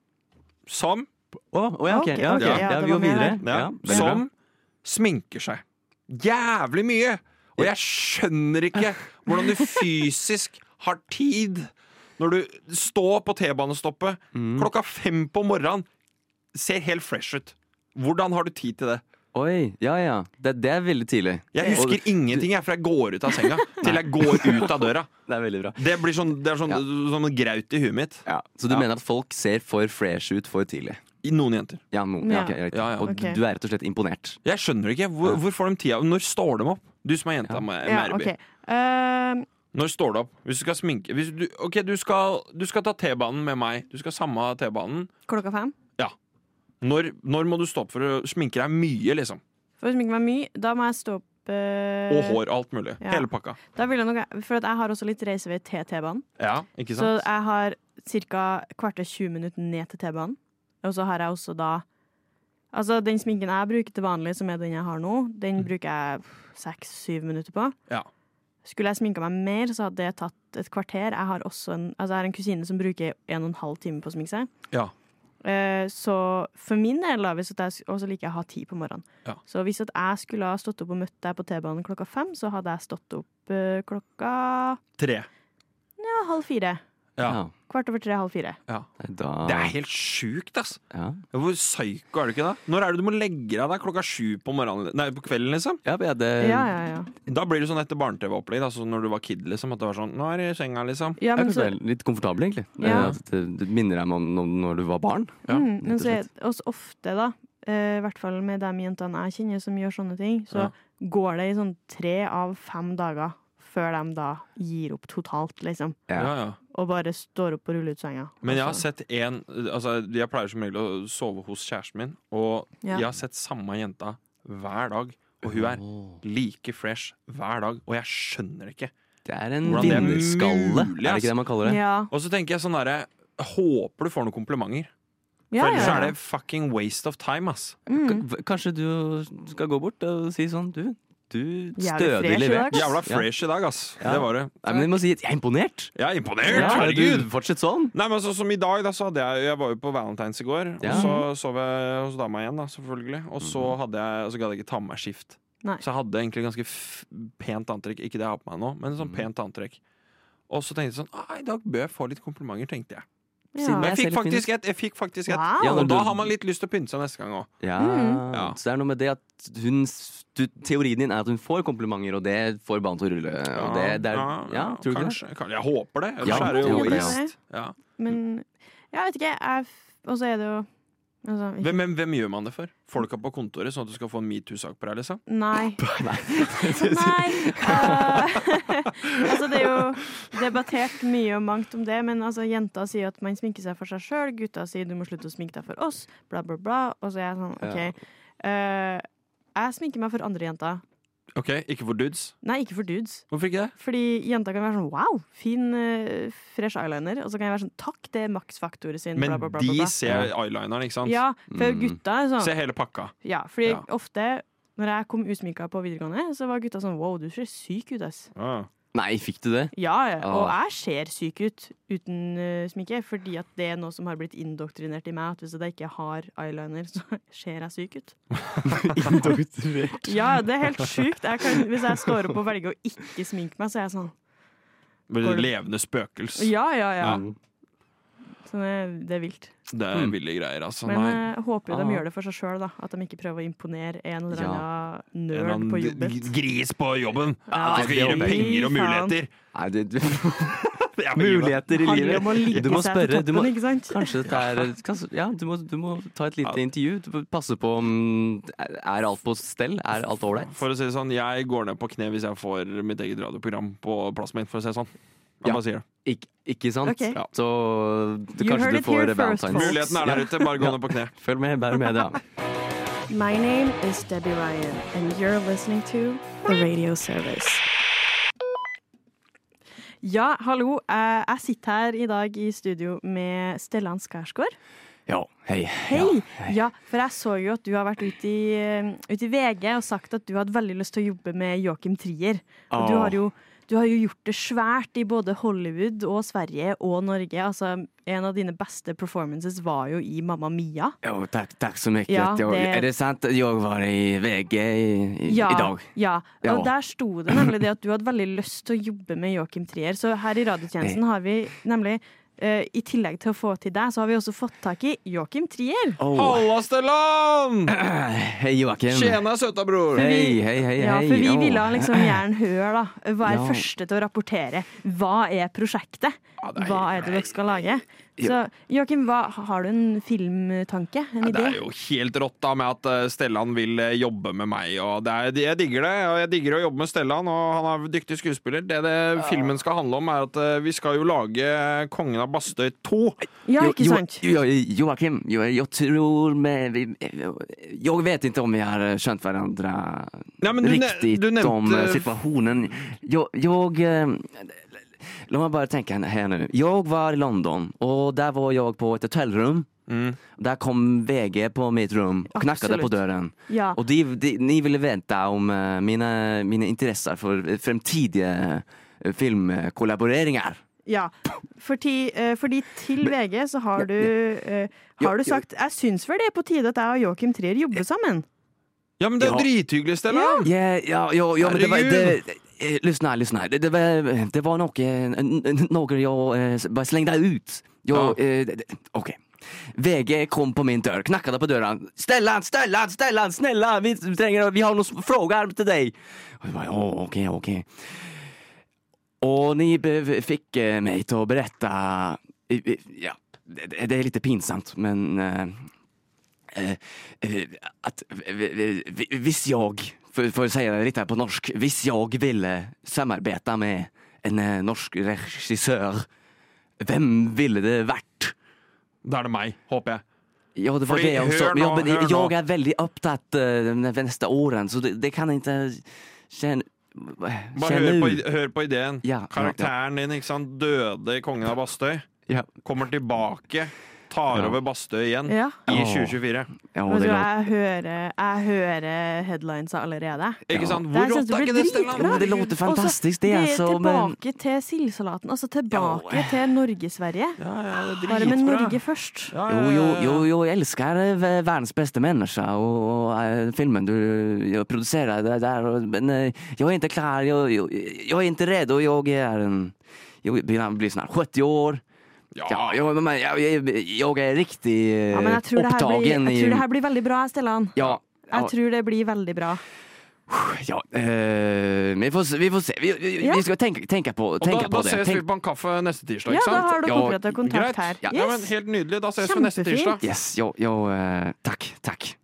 [SPEAKER 5] Som
[SPEAKER 4] Å, å ja, ok.
[SPEAKER 6] Ok,
[SPEAKER 4] Ja,
[SPEAKER 6] ok,
[SPEAKER 4] ok.
[SPEAKER 6] ja,
[SPEAKER 4] ja,
[SPEAKER 6] det
[SPEAKER 4] vi
[SPEAKER 6] var
[SPEAKER 4] går
[SPEAKER 6] mer
[SPEAKER 4] videre.
[SPEAKER 6] her.
[SPEAKER 5] ja,
[SPEAKER 4] veldig
[SPEAKER 5] som
[SPEAKER 4] bra.
[SPEAKER 5] sminker seg. Jævlig mye! Og jeg skjønner ikke hvordan du fysisk har tid når du står på T-banestoppet
[SPEAKER 4] Mm.
[SPEAKER 5] klokka fem på morgenen, ser helt fresh ut. Hvordan har du tid til det?
[SPEAKER 4] Oi, ja ja. Det, det er veldig tidlig.
[SPEAKER 5] Jeg
[SPEAKER 4] Og-
[SPEAKER 5] husker ingenting jeg, fra jeg går ut av senga til jeg går ut av døra.
[SPEAKER 4] Det er veldig bra.
[SPEAKER 5] Det blir sånn, det er sånn,
[SPEAKER 4] Ja.
[SPEAKER 5] sånn graut i huet mitt.
[SPEAKER 4] Ja, så du
[SPEAKER 5] Ja.
[SPEAKER 4] mener at folk ser for fresh ut for tidlig?
[SPEAKER 5] I noen jenter.
[SPEAKER 4] Ja, no, ja,
[SPEAKER 6] Ja.
[SPEAKER 4] ok, greit.
[SPEAKER 5] Ja, ja.
[SPEAKER 4] Og
[SPEAKER 6] Ok.
[SPEAKER 4] du, du er rett og slett imponert.
[SPEAKER 5] Jeg skjønner ikke. Hvor, hvor får de tida? Når står de opp? Du som er jenta,
[SPEAKER 4] Ja.
[SPEAKER 5] med
[SPEAKER 6] Ja,
[SPEAKER 5] Merby.
[SPEAKER 6] ok. Ehm,
[SPEAKER 5] Når står du opp? Hvis du skal sminke hvis du, Ok, du skal, du skal ta T-banen med meg. Du skal samme T-banen.
[SPEAKER 6] klokka fem.
[SPEAKER 5] Når, når må du stå opp for å sminke deg mye, liksom?
[SPEAKER 6] For å sminke meg mye, da må jeg stå opp eh,
[SPEAKER 5] Og hår, alt mulig.
[SPEAKER 6] ja.
[SPEAKER 5] Hele pakka.
[SPEAKER 6] Da vil jeg nok, for at jeg har også litt reisevei til T-banen.
[SPEAKER 5] Ja, ikke
[SPEAKER 6] Så
[SPEAKER 5] sant?
[SPEAKER 6] jeg har ca. kvarter 20 minutter ned til T-banen. Og så har jeg også da Altså, den sminken jeg bruker til vanlig, som er den jeg har nå,
[SPEAKER 5] Mm.
[SPEAKER 6] den bruker jeg seks-syv minutter på.
[SPEAKER 5] Ja.
[SPEAKER 6] Skulle jeg sminka meg mer, så hadde det tatt et kvarter. Jeg har også en, altså jeg har en kusine som bruker en og en halv time på å sminke seg.
[SPEAKER 5] Ja.
[SPEAKER 6] Eh, Så for min del, da, hvis at jeg, og så liker jeg å ha tid på morgenen.
[SPEAKER 5] Ja.
[SPEAKER 6] Så hvis at jeg skulle ha stått opp og møtt deg på T-banen klokka fem, så hadde jeg stått opp eh, klokka
[SPEAKER 5] Tre.
[SPEAKER 6] ja, halv fire.
[SPEAKER 5] Ja.
[SPEAKER 6] Kvart over tre, halv fire.
[SPEAKER 4] Da
[SPEAKER 5] Det er helt sjukt, ass!
[SPEAKER 4] ja.
[SPEAKER 5] Hvor psyko er du ikke da? Når er det du må legge deg? da? Klokka sju på morgenen? Nei, på kvelden, liksom?
[SPEAKER 4] Ja, ja, det,
[SPEAKER 6] Ja, ja, ja.
[SPEAKER 5] Da blir det sånn etter barne-TV-opplegg, da, sånn når du var kid, liksom. At det var sånn Nå er det i senga, liksom.
[SPEAKER 4] Jeg
[SPEAKER 6] ja, men
[SPEAKER 4] synes
[SPEAKER 6] så,
[SPEAKER 4] det er litt komfortabel, egentlig.
[SPEAKER 6] Ja.
[SPEAKER 4] Eh, at Det, det minner deg om om når du var barn.
[SPEAKER 5] Ja,
[SPEAKER 6] mm, men
[SPEAKER 4] rett og
[SPEAKER 6] så er det også ofte, da, eh, i hvert fall med de jentene jeg kjenner som gjør sånne ting,
[SPEAKER 5] Ja.
[SPEAKER 6] så går det i sånn tre av fem dager før de da gir opp totalt, liksom.
[SPEAKER 4] Ja.
[SPEAKER 5] Ja, ja.
[SPEAKER 6] Og bare står opp og ruller ut senga.
[SPEAKER 5] Men jeg har
[SPEAKER 6] Altså,
[SPEAKER 5] sett en altså, Jeg pleier som regel å sove hos kjæresten min, og
[SPEAKER 6] Ja.
[SPEAKER 5] jeg har sett samme jenta hver dag. Og hun er like fresh hver dag, og jeg skjønner det ikke.
[SPEAKER 4] Det er en
[SPEAKER 5] Hvordan det er
[SPEAKER 4] vinnerskalle,
[SPEAKER 5] mulig,
[SPEAKER 4] er det
[SPEAKER 5] ass.
[SPEAKER 4] ikke det man kaller det?
[SPEAKER 6] Ja.
[SPEAKER 5] Og så tenker jeg sånn derre Håper du får noen komplimenter.
[SPEAKER 6] Ja,
[SPEAKER 5] For
[SPEAKER 6] ja,
[SPEAKER 5] ellers
[SPEAKER 6] ja.
[SPEAKER 5] er det fucking waste of time, ass.
[SPEAKER 6] Mm.
[SPEAKER 4] K- Kanskje du skal gå bort og si sånn Du, du
[SPEAKER 6] Jævlig
[SPEAKER 4] stødig
[SPEAKER 6] fresh i
[SPEAKER 4] levert.
[SPEAKER 6] dag, ass.
[SPEAKER 5] Jævla
[SPEAKER 4] Ja.
[SPEAKER 5] fresh i dag, ass.
[SPEAKER 4] Ja.
[SPEAKER 5] Det var det.
[SPEAKER 4] Nei, men du må si 'jeg er imponert'.
[SPEAKER 5] Jeg er imponert!
[SPEAKER 4] Ja,
[SPEAKER 5] Herregud!
[SPEAKER 4] du, fortsett sånn.
[SPEAKER 5] Nei, men så, som i dag, da, så hadde jeg Jeg var jo på Valentine's i går.
[SPEAKER 4] Ja. Mhm.
[SPEAKER 5] Og så sov jeg hos dama igjen, da, selvfølgelig. Og så hadde jeg Og så gadd jeg ikke ta med meg skift.
[SPEAKER 6] Nei.
[SPEAKER 5] Så jeg hadde egentlig ganske f pent antrekk. Ikke det jeg har på meg nå, men
[SPEAKER 4] Mhm.
[SPEAKER 5] sånn pent antrekk. Og så tenkte jeg sånn «Ah, I dag bør jeg få litt komplimenter, tenkte jeg.
[SPEAKER 6] Ja.
[SPEAKER 5] Men
[SPEAKER 4] Jeg
[SPEAKER 5] jeg fikk
[SPEAKER 4] ser litt fin
[SPEAKER 5] faktisk ett! Jeg fikk faktisk ett.
[SPEAKER 6] Wow.
[SPEAKER 4] Ja,
[SPEAKER 5] Og
[SPEAKER 4] når
[SPEAKER 5] da
[SPEAKER 4] du-
[SPEAKER 5] har man litt lyst til å pynte seg neste gang òg.
[SPEAKER 4] Ja.
[SPEAKER 6] Mm.
[SPEAKER 5] Ja.
[SPEAKER 4] Så det er noe med det at hun du, Teorien din er at hun får komplimenter, og det får ballen til å rulle. Og det, det er, ja, tror du ikke det?
[SPEAKER 5] kanskje, Kan- Jeg håper det. Ellers
[SPEAKER 4] Ja,
[SPEAKER 5] er det jo
[SPEAKER 4] jeg håper det,
[SPEAKER 6] ja.
[SPEAKER 5] waste. Ja.
[SPEAKER 6] Men jeg vet ikke. Jeg, f- og så er det jo altså, ikke,
[SPEAKER 5] Hvem, hvem, hvem gjør man det for? Folka på kontoret, sånn at du skal få en metoo-sak på deg? liksom
[SPEAKER 6] Nei. Nei. eh, altså, det er jo debattert mye og mangt om det, men altså, jenter sier at man sminker seg for seg sjøl, gutta sier du må slutte å sminke deg for oss, bla, bla, bla. Og så er jeg sånn, OK. eh, jeg sminker meg for andre jenter.
[SPEAKER 5] Ok, Ikke for dudes?
[SPEAKER 6] Nei, ikke for dudes.
[SPEAKER 5] Hvorfor ikke det?
[SPEAKER 6] Fordi jenter kan være sånn wow, fin eh, fresh eyeliner. Og så kan jeg være sånn takk, det er maksfaktoret sin,
[SPEAKER 5] Men
[SPEAKER 6] bla, bla, bla. bla,
[SPEAKER 5] de
[SPEAKER 6] bla.
[SPEAKER 5] ser eyelineren, ikke sant?
[SPEAKER 6] Ja, for gutta er sånn
[SPEAKER 5] Se hele pakka.
[SPEAKER 6] Ja, fordi
[SPEAKER 5] Ja.
[SPEAKER 6] ofte når jeg kom usminka på videregående, så var gutta sånn Wow, du ser syk ut, ass.
[SPEAKER 4] Nei, fikk du det?
[SPEAKER 6] Ja, ja. og
[SPEAKER 4] Ah.
[SPEAKER 6] jeg ser syk ut uten eh, sminke, fordi at det er noe som har blitt indoktrinert i meg. At hvis jeg ikke har eyeliner, så ser jeg syk ut.
[SPEAKER 4] Indoktrert.
[SPEAKER 6] Ja, det er helt sjukt. Jeg kan, hvis jeg står opp og velger å ikke sminke meg, så er jeg sånn
[SPEAKER 5] Blir det levende spøkels.
[SPEAKER 6] Ja, ja, ja.
[SPEAKER 4] Mm.
[SPEAKER 6] Så det, det er vilt.
[SPEAKER 5] Det er ville greier, altså.
[SPEAKER 6] Men eh,
[SPEAKER 5] Nei.
[SPEAKER 6] jeg håper jo
[SPEAKER 4] Ah.
[SPEAKER 6] de gjør det for seg sjøl, da. At de ikke prøver å imponere en eller annen
[SPEAKER 5] En eller
[SPEAKER 6] nerd på
[SPEAKER 5] annen
[SPEAKER 6] jobben.
[SPEAKER 5] g- gris på jobben!
[SPEAKER 6] Ja,
[SPEAKER 5] Som skal gi dem
[SPEAKER 6] fy
[SPEAKER 5] penger og
[SPEAKER 6] faen.
[SPEAKER 5] muligheter!
[SPEAKER 4] Nei, du, du,
[SPEAKER 5] Jeg må gi meg.
[SPEAKER 4] muligheter i
[SPEAKER 6] Handler om å
[SPEAKER 4] livet. Du må
[SPEAKER 6] like seg til
[SPEAKER 4] spørre. Du må,
[SPEAKER 6] toppen, ikke sant?
[SPEAKER 4] kanskje dette er kanskje, Ja, du må, du må ta et lite intervju. Du må passe på om Er alt på stell? Er alt ålreit?
[SPEAKER 5] For å si det sånn, jeg går ned på kne hvis jeg får mitt eget radioprogram på plassen min, for å si det sånn. Jeg
[SPEAKER 4] Ja.
[SPEAKER 5] bare sier det.
[SPEAKER 4] Ik ikke sant?
[SPEAKER 6] Ok.
[SPEAKER 5] Ja.
[SPEAKER 4] Så du,
[SPEAKER 6] You heard
[SPEAKER 4] kanskje
[SPEAKER 6] it
[SPEAKER 4] du får
[SPEAKER 6] here first,
[SPEAKER 4] Valentine's.
[SPEAKER 6] folks.
[SPEAKER 5] Muligheten er der ute, bare gå ned på kne.
[SPEAKER 4] Følg med, bær med det. Ja.
[SPEAKER 6] My name is Debbie Ryan, and you're listening to The Radio Service. Ja, hallo. Eh, Jeg sitter her i dag i studio med Stellan Skarsgård.
[SPEAKER 4] ja. Hei.
[SPEAKER 6] Hei! Ja, for jeg så jo at du har vært ute i, eh, ute i VG og sagt at du hadde veldig lyst til å jobbe med Joakim Trier. Og du
[SPEAKER 4] Åh.
[SPEAKER 6] har jo du har jo gjort det svært i både Hollywood og Sverige og Norge. Altså, en av dine beste performances var jo i Mamma Mia.
[SPEAKER 4] Jo, takk, takk så mye.
[SPEAKER 6] Ja,
[SPEAKER 4] At jeg-
[SPEAKER 6] det-
[SPEAKER 4] Er det sant at jeg var i VG i, i, i dag?
[SPEAKER 6] Ja.
[SPEAKER 4] Ja.
[SPEAKER 6] Og der sto det nemlig det at du hadde veldig lyst til å jobbe med Joakim Trier. Så her i Radiotjenesten har vi nemlig eh, i tillegg til å få til deg, så har vi også fått tak i Joakim Trier.
[SPEAKER 4] Åh,
[SPEAKER 5] Halla, Stellan!
[SPEAKER 4] Hei, Joakim.
[SPEAKER 5] Tjena, søta bror!
[SPEAKER 4] Hei, hei, hei.
[SPEAKER 6] Ja,
[SPEAKER 4] hei.
[SPEAKER 6] for vi
[SPEAKER 4] Åh.
[SPEAKER 6] ville liksom gjerne høre, da. Hva er
[SPEAKER 4] Ja.
[SPEAKER 6] første til å rapportere? Hva er prosjektet?
[SPEAKER 5] det er-
[SPEAKER 6] Hva er det dere skal lage? Så Joakim, hva, har du en filmtanke? En
[SPEAKER 5] Ja, det er
[SPEAKER 6] idé?
[SPEAKER 5] jo helt rått da med at eh, Stellan vil eh, jobbe med meg. Og det er, jeg digger det. og Jeg digger å jobbe med Stellan, og han er en dyktig skuespiller. Det, det filmen skal handle om, er at eh, vi skal jo lage eh, Kongen av Bastøy 2.
[SPEAKER 6] Ja,
[SPEAKER 4] Jo-
[SPEAKER 6] ikke
[SPEAKER 4] Jo-
[SPEAKER 6] sant?
[SPEAKER 4] Jo, Joakim, jo, jeg tror med, Jeg vet ikke om vi har skjønt hverandre
[SPEAKER 5] Nei, men du ne-
[SPEAKER 4] riktig
[SPEAKER 5] du nevnte-
[SPEAKER 4] om eh, situasjonen. Jeg, jeg eh, La meg bare tenke her nå. Jeg var i London, og der var jeg på et hotellrom.
[SPEAKER 5] Mm.
[SPEAKER 4] Der kom VG på mitt rom og knakket på
[SPEAKER 6] Absolutt.
[SPEAKER 4] døren.
[SPEAKER 6] Ja.
[SPEAKER 4] Og de, de, ni ville vite om eh, mine, mine interesser for eh, fremtidige eh, filmkollaboreringer.
[SPEAKER 6] Ja, fordi, eh, fordi til VG så har du, eh,
[SPEAKER 4] Ja,
[SPEAKER 6] har du
[SPEAKER 4] ja.
[SPEAKER 6] sagt Jeg syns vel det er på tide at jeg og Joakim Trier jobber sammen.
[SPEAKER 5] Ja, men det er
[SPEAKER 4] Ja.
[SPEAKER 5] drithyggelig, Stellan!
[SPEAKER 4] Ja, ja, ja, ja men det var... Det,
[SPEAKER 5] Herregud.
[SPEAKER 4] eh, lyssna här, lyssna här. Det, det, var, det var nog, eh, n- n- några jag eh, bara slängde ut. Jag,
[SPEAKER 5] Ja.
[SPEAKER 4] eh, d- d- Okej. VG kom på min dörr, knackade på dörren. Stellan, Stellan, Stellan, snälla! Vi, tränger, vi har någon fråga till dig. Och jag bara, ja, okej, okej. Och ni be- fick eh, mig till att berätta... i- i- Ja, det- det, det är lite pinsamt, men... eh, eh, eh, att vi- vi- visst jag, för, för att säga det lite här på norsk, visst jag ville samarbeta med en eh, norsk regissör, vem ville det vært?
[SPEAKER 5] Da er det meg, håper jeg.
[SPEAKER 4] Ja, det var
[SPEAKER 5] Fordi,
[SPEAKER 4] det jag
[SPEAKER 5] hør
[SPEAKER 4] sa.
[SPEAKER 5] nå,
[SPEAKER 4] Ja, men
[SPEAKER 5] hør nå.
[SPEAKER 4] jag är väldigt upptatt uh, nästa åren, så det, det kan jag inte känna,
[SPEAKER 5] Bare
[SPEAKER 4] känna
[SPEAKER 5] hør på,
[SPEAKER 4] ur.
[SPEAKER 5] id- hør på ideen.
[SPEAKER 4] Ja, ja,
[SPEAKER 5] Karakteren din ikke sant? døde i Kongen av Bastøy.
[SPEAKER 4] Ja,
[SPEAKER 5] Kommer tilbake, tar
[SPEAKER 4] Ja.
[SPEAKER 5] over Bastøy igjen
[SPEAKER 6] Ja.
[SPEAKER 5] i
[SPEAKER 4] Åh.
[SPEAKER 5] 2024.
[SPEAKER 4] ja, det
[SPEAKER 6] Vet du,
[SPEAKER 4] låter...
[SPEAKER 6] jeg, hører, jeg hører headlinesa allerede.
[SPEAKER 5] Ikke
[SPEAKER 4] Ja. sånn-
[SPEAKER 5] sant?
[SPEAKER 6] Det her
[SPEAKER 5] Hvor
[SPEAKER 6] synes
[SPEAKER 5] rått
[SPEAKER 6] jeg
[SPEAKER 5] er
[SPEAKER 6] blir
[SPEAKER 5] ikke det, Stellan?
[SPEAKER 6] dritbra.
[SPEAKER 4] Eh, Det låter fantastisk, det
[SPEAKER 6] Og
[SPEAKER 4] er
[SPEAKER 6] så
[SPEAKER 4] som en-
[SPEAKER 6] Tilbake til sildsalaten. Altså tilbake
[SPEAKER 4] Ja.
[SPEAKER 6] til Norge-Sverige.
[SPEAKER 5] Ja, ja, det er
[SPEAKER 6] Bare med
[SPEAKER 5] dritbra.
[SPEAKER 6] Norge først.
[SPEAKER 5] Ja, ja,
[SPEAKER 4] Jo, jo,
[SPEAKER 6] Ah.
[SPEAKER 5] ja, ja.
[SPEAKER 4] jo, jo, jag älskar eh, världens bästa människa och, och eh, filmen du jag producerar det där. och- Men eh, jag är inte klar, jag, jag, jag är inte redo. Jag är en... Jag blir- jag blir snart 70 år. Ja, jag, men jag, jag, jag är riktigt
[SPEAKER 6] Ja, men jeg tror, det her blir,
[SPEAKER 4] upptagen.
[SPEAKER 6] jeg tror
[SPEAKER 4] eh,
[SPEAKER 6] det
[SPEAKER 4] i,
[SPEAKER 6] her blir veldig bra, Stellan.
[SPEAKER 4] ja, ja,
[SPEAKER 6] Jeg tror det blir veldig bra.
[SPEAKER 4] ja, eh, vi, får, se- vi får se. Vi, vi,
[SPEAKER 6] Ja.
[SPEAKER 4] vi skal tenke, tenke på,
[SPEAKER 5] Og da,
[SPEAKER 4] tenke på
[SPEAKER 5] da
[SPEAKER 4] det.
[SPEAKER 5] ses
[SPEAKER 4] Tenk-
[SPEAKER 5] vi på en kaffe neste tirsdag,
[SPEAKER 6] Ja,
[SPEAKER 5] ikke
[SPEAKER 6] da
[SPEAKER 5] sant?
[SPEAKER 6] har du
[SPEAKER 4] Ja,
[SPEAKER 6] oppretta kontakt her.
[SPEAKER 4] greit. Ja,
[SPEAKER 5] Ja, men
[SPEAKER 6] Yes.
[SPEAKER 5] helt nydelig. Da ses vi neste
[SPEAKER 6] Kjempefint.
[SPEAKER 5] tirsdag.
[SPEAKER 4] Yes, jag, jag, eh, tack, tack.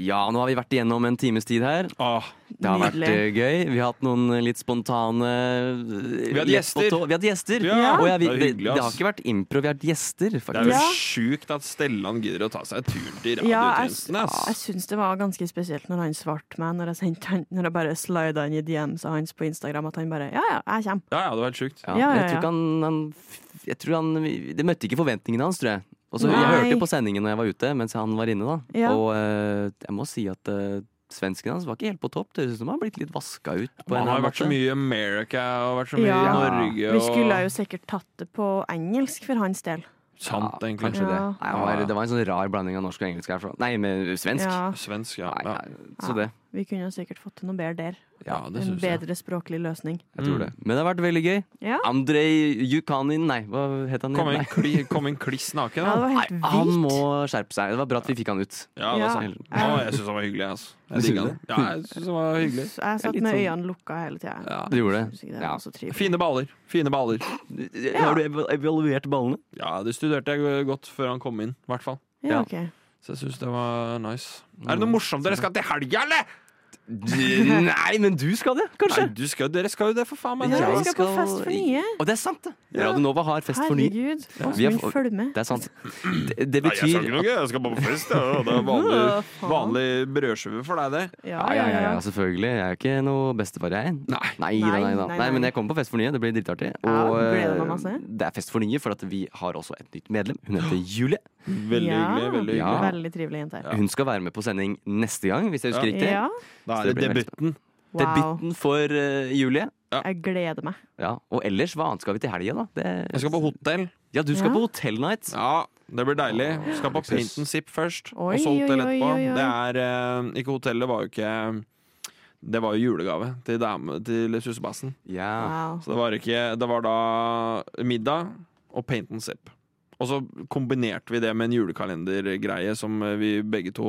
[SPEAKER 4] Ja, nå har vi vært igjennom en times tid her.
[SPEAKER 5] Åh,
[SPEAKER 4] Det har
[SPEAKER 6] Nydelig.
[SPEAKER 4] vært eh, gøy. Vi har hatt noen eh, litt spontane eh, Vi
[SPEAKER 5] hadde gjester.
[SPEAKER 4] Vi hadde gjester.
[SPEAKER 5] Ja,
[SPEAKER 4] Og jeg, vi,
[SPEAKER 5] det er
[SPEAKER 4] det,
[SPEAKER 5] hyggelig,
[SPEAKER 4] det har
[SPEAKER 5] ass.
[SPEAKER 4] ikke vært impro, vi har hatt gjester,
[SPEAKER 5] det er jo
[SPEAKER 4] faktisk.
[SPEAKER 6] Ja.
[SPEAKER 5] sjukt at Stellan gidder å ta seg en tur til
[SPEAKER 6] Ja, jeg-
[SPEAKER 5] radiotjenesten.
[SPEAKER 6] Jeg
[SPEAKER 5] ass.
[SPEAKER 6] syns det var ganske spesielt når han svarte meg, når jeg, sendte han, når jeg bare slida inn i DMs av hans på Instagram, at han bare Ja, ja, jeg kommer.
[SPEAKER 5] Ja, ja, det var helt sjukt.
[SPEAKER 4] Ja,
[SPEAKER 6] Ja, ja,
[SPEAKER 4] Jeg tror
[SPEAKER 6] ja.
[SPEAKER 4] ikke han, han, f- jeg tror han vi- Det møtte ikke forventningene hans, tror jeg. Og så, jeg
[SPEAKER 6] Nei.
[SPEAKER 4] hørte på sendingen når jeg var ute, mens han var inne, da.
[SPEAKER 6] Ja.
[SPEAKER 4] Og eh, jeg må si at eh, Svensken hans var ikke helt på topp. Det høres ut som han har blitt litt vaska ut. På en
[SPEAKER 5] Man
[SPEAKER 4] eller
[SPEAKER 5] har jo
[SPEAKER 4] annen
[SPEAKER 5] vært så
[SPEAKER 4] måte.
[SPEAKER 5] mye i America og vært så mye
[SPEAKER 6] Ja.
[SPEAKER 5] i Norge.
[SPEAKER 6] Vi
[SPEAKER 5] Og...
[SPEAKER 6] skulle jo sikkert tatt det på engelsk for hans del.
[SPEAKER 5] Sant,
[SPEAKER 4] Ja,
[SPEAKER 5] egentlig.
[SPEAKER 4] Kanskje det.
[SPEAKER 6] Ja.
[SPEAKER 4] Nei, han var, det var en sånn rar blanding av norsk og engelsk. herfra. Nei, med svensk.
[SPEAKER 6] Ja,
[SPEAKER 5] Svensk, ja.
[SPEAKER 4] Nei,
[SPEAKER 5] ja.
[SPEAKER 4] nei, så det.
[SPEAKER 6] vi kunne jo sikkert fått til noe bedre der.
[SPEAKER 5] Ja, det
[SPEAKER 6] En
[SPEAKER 5] syns jeg.
[SPEAKER 6] bedre språklig løsning.
[SPEAKER 4] Jeg
[SPEAKER 5] Mm.
[SPEAKER 4] tror det. Men det har vært veldig gøy.
[SPEAKER 6] Ja.
[SPEAKER 4] Andrej Jukanin, nei, hva het han? igjen?
[SPEAKER 5] Kom inn,
[SPEAKER 4] Nei.
[SPEAKER 5] kli, kom inn kliss naken,
[SPEAKER 6] Ja,
[SPEAKER 5] da.
[SPEAKER 6] det var helt
[SPEAKER 4] Nei, han
[SPEAKER 6] vilt.
[SPEAKER 4] må skjerpe seg. Det var bra at vi fikk han ut. Altså,
[SPEAKER 5] Ja, det er
[SPEAKER 6] Ja.
[SPEAKER 5] sant. Å, jeg syns han var hyggelig. Altså.
[SPEAKER 4] Du
[SPEAKER 5] Jeg digga
[SPEAKER 4] synes
[SPEAKER 5] det. Ja, jeg synes han var hyggelig.
[SPEAKER 6] Jeg satt
[SPEAKER 4] litt
[SPEAKER 6] med
[SPEAKER 4] sånn-
[SPEAKER 6] øynene lukka hele tida.
[SPEAKER 5] Ja.
[SPEAKER 4] Du gjorde det.
[SPEAKER 6] Det altså.
[SPEAKER 4] Ja.
[SPEAKER 6] var så trivelig.
[SPEAKER 5] Fine baller. Fine baller.
[SPEAKER 4] Har du ev- evaluert ballene?
[SPEAKER 5] Ja, det studerte jeg godt før han kom inn, i hvert fall.
[SPEAKER 6] Ja, ok.
[SPEAKER 5] Så jeg syns det var nice. Er det noe morsomt dere skal til helga, eller?
[SPEAKER 4] Nei, men du skal det, kanskje?
[SPEAKER 5] Nei, du skal, dere skal jo det, for faen meg.
[SPEAKER 6] Ja,
[SPEAKER 4] Jeg
[SPEAKER 6] vi skal på
[SPEAKER 4] skal-
[SPEAKER 6] fest for nye.
[SPEAKER 4] Og det er sant, det! Radio Nova har fest for ny.
[SPEAKER 6] Herregud.
[SPEAKER 4] Vi har
[SPEAKER 6] Åsmund,
[SPEAKER 4] fått-
[SPEAKER 6] følg med.
[SPEAKER 4] Det er sant. Det, det
[SPEAKER 5] Nei, jeg skal
[SPEAKER 4] betyr
[SPEAKER 5] ikke noe, jeg skal bare på fest. Ja. Det er vanlig, vanlig brødskive for deg, det.
[SPEAKER 6] Ja,
[SPEAKER 4] ja, ja, ja, ja, selvfølgelig. Jeg er jo ikke noe bestefar, jeg. Nei. Nei, da, nei, da.
[SPEAKER 6] Nei, nei,
[SPEAKER 4] nei, men
[SPEAKER 6] nei.
[SPEAKER 4] jeg kommer på Fest for nye. Det blir dritartig.
[SPEAKER 6] Ja,
[SPEAKER 4] Og
[SPEAKER 6] gleder meg
[SPEAKER 4] eh,
[SPEAKER 6] masse.
[SPEAKER 4] det er Fest for nye, for at vi har også et nytt medlem. Hun heter Julie.
[SPEAKER 5] Veldig
[SPEAKER 6] Ja.
[SPEAKER 5] hyggelig. veldig
[SPEAKER 4] Ja.
[SPEAKER 5] hyggelig
[SPEAKER 6] Veldig trivelig jente.
[SPEAKER 4] Hun skal være med på sending neste gang, hvis jeg husker
[SPEAKER 5] Ja.
[SPEAKER 4] riktig.
[SPEAKER 6] Ja,
[SPEAKER 5] Da
[SPEAKER 4] Så
[SPEAKER 5] er
[SPEAKER 4] det blir
[SPEAKER 5] det
[SPEAKER 4] veldig
[SPEAKER 5] debuten.
[SPEAKER 6] wow.
[SPEAKER 4] Debuten for eh, Julie.
[SPEAKER 6] Jeg gleder meg.
[SPEAKER 4] Ja, Og ellers, hva annet skal vi til helga, da? Det-
[SPEAKER 5] Jeg skal på hotell.
[SPEAKER 4] Ja, du skal
[SPEAKER 6] Ja.
[SPEAKER 4] på Hotel Night.
[SPEAKER 5] Ja, det blir deilig. Skal på Paint and Zip først,
[SPEAKER 6] Oi,
[SPEAKER 5] og så hotell
[SPEAKER 6] oi, oi,
[SPEAKER 5] etterpå.
[SPEAKER 6] oi, oi.
[SPEAKER 5] Det er eh, Ikke hotellet, var jo ikke Det var jo julegave til, dame, til sussebassen.
[SPEAKER 4] Ja.
[SPEAKER 6] Wow.
[SPEAKER 5] Så det var ikke Det var da middag og Paint and Zip. Og så kombinerte vi det med en julekalendergreie som eh, vi begge to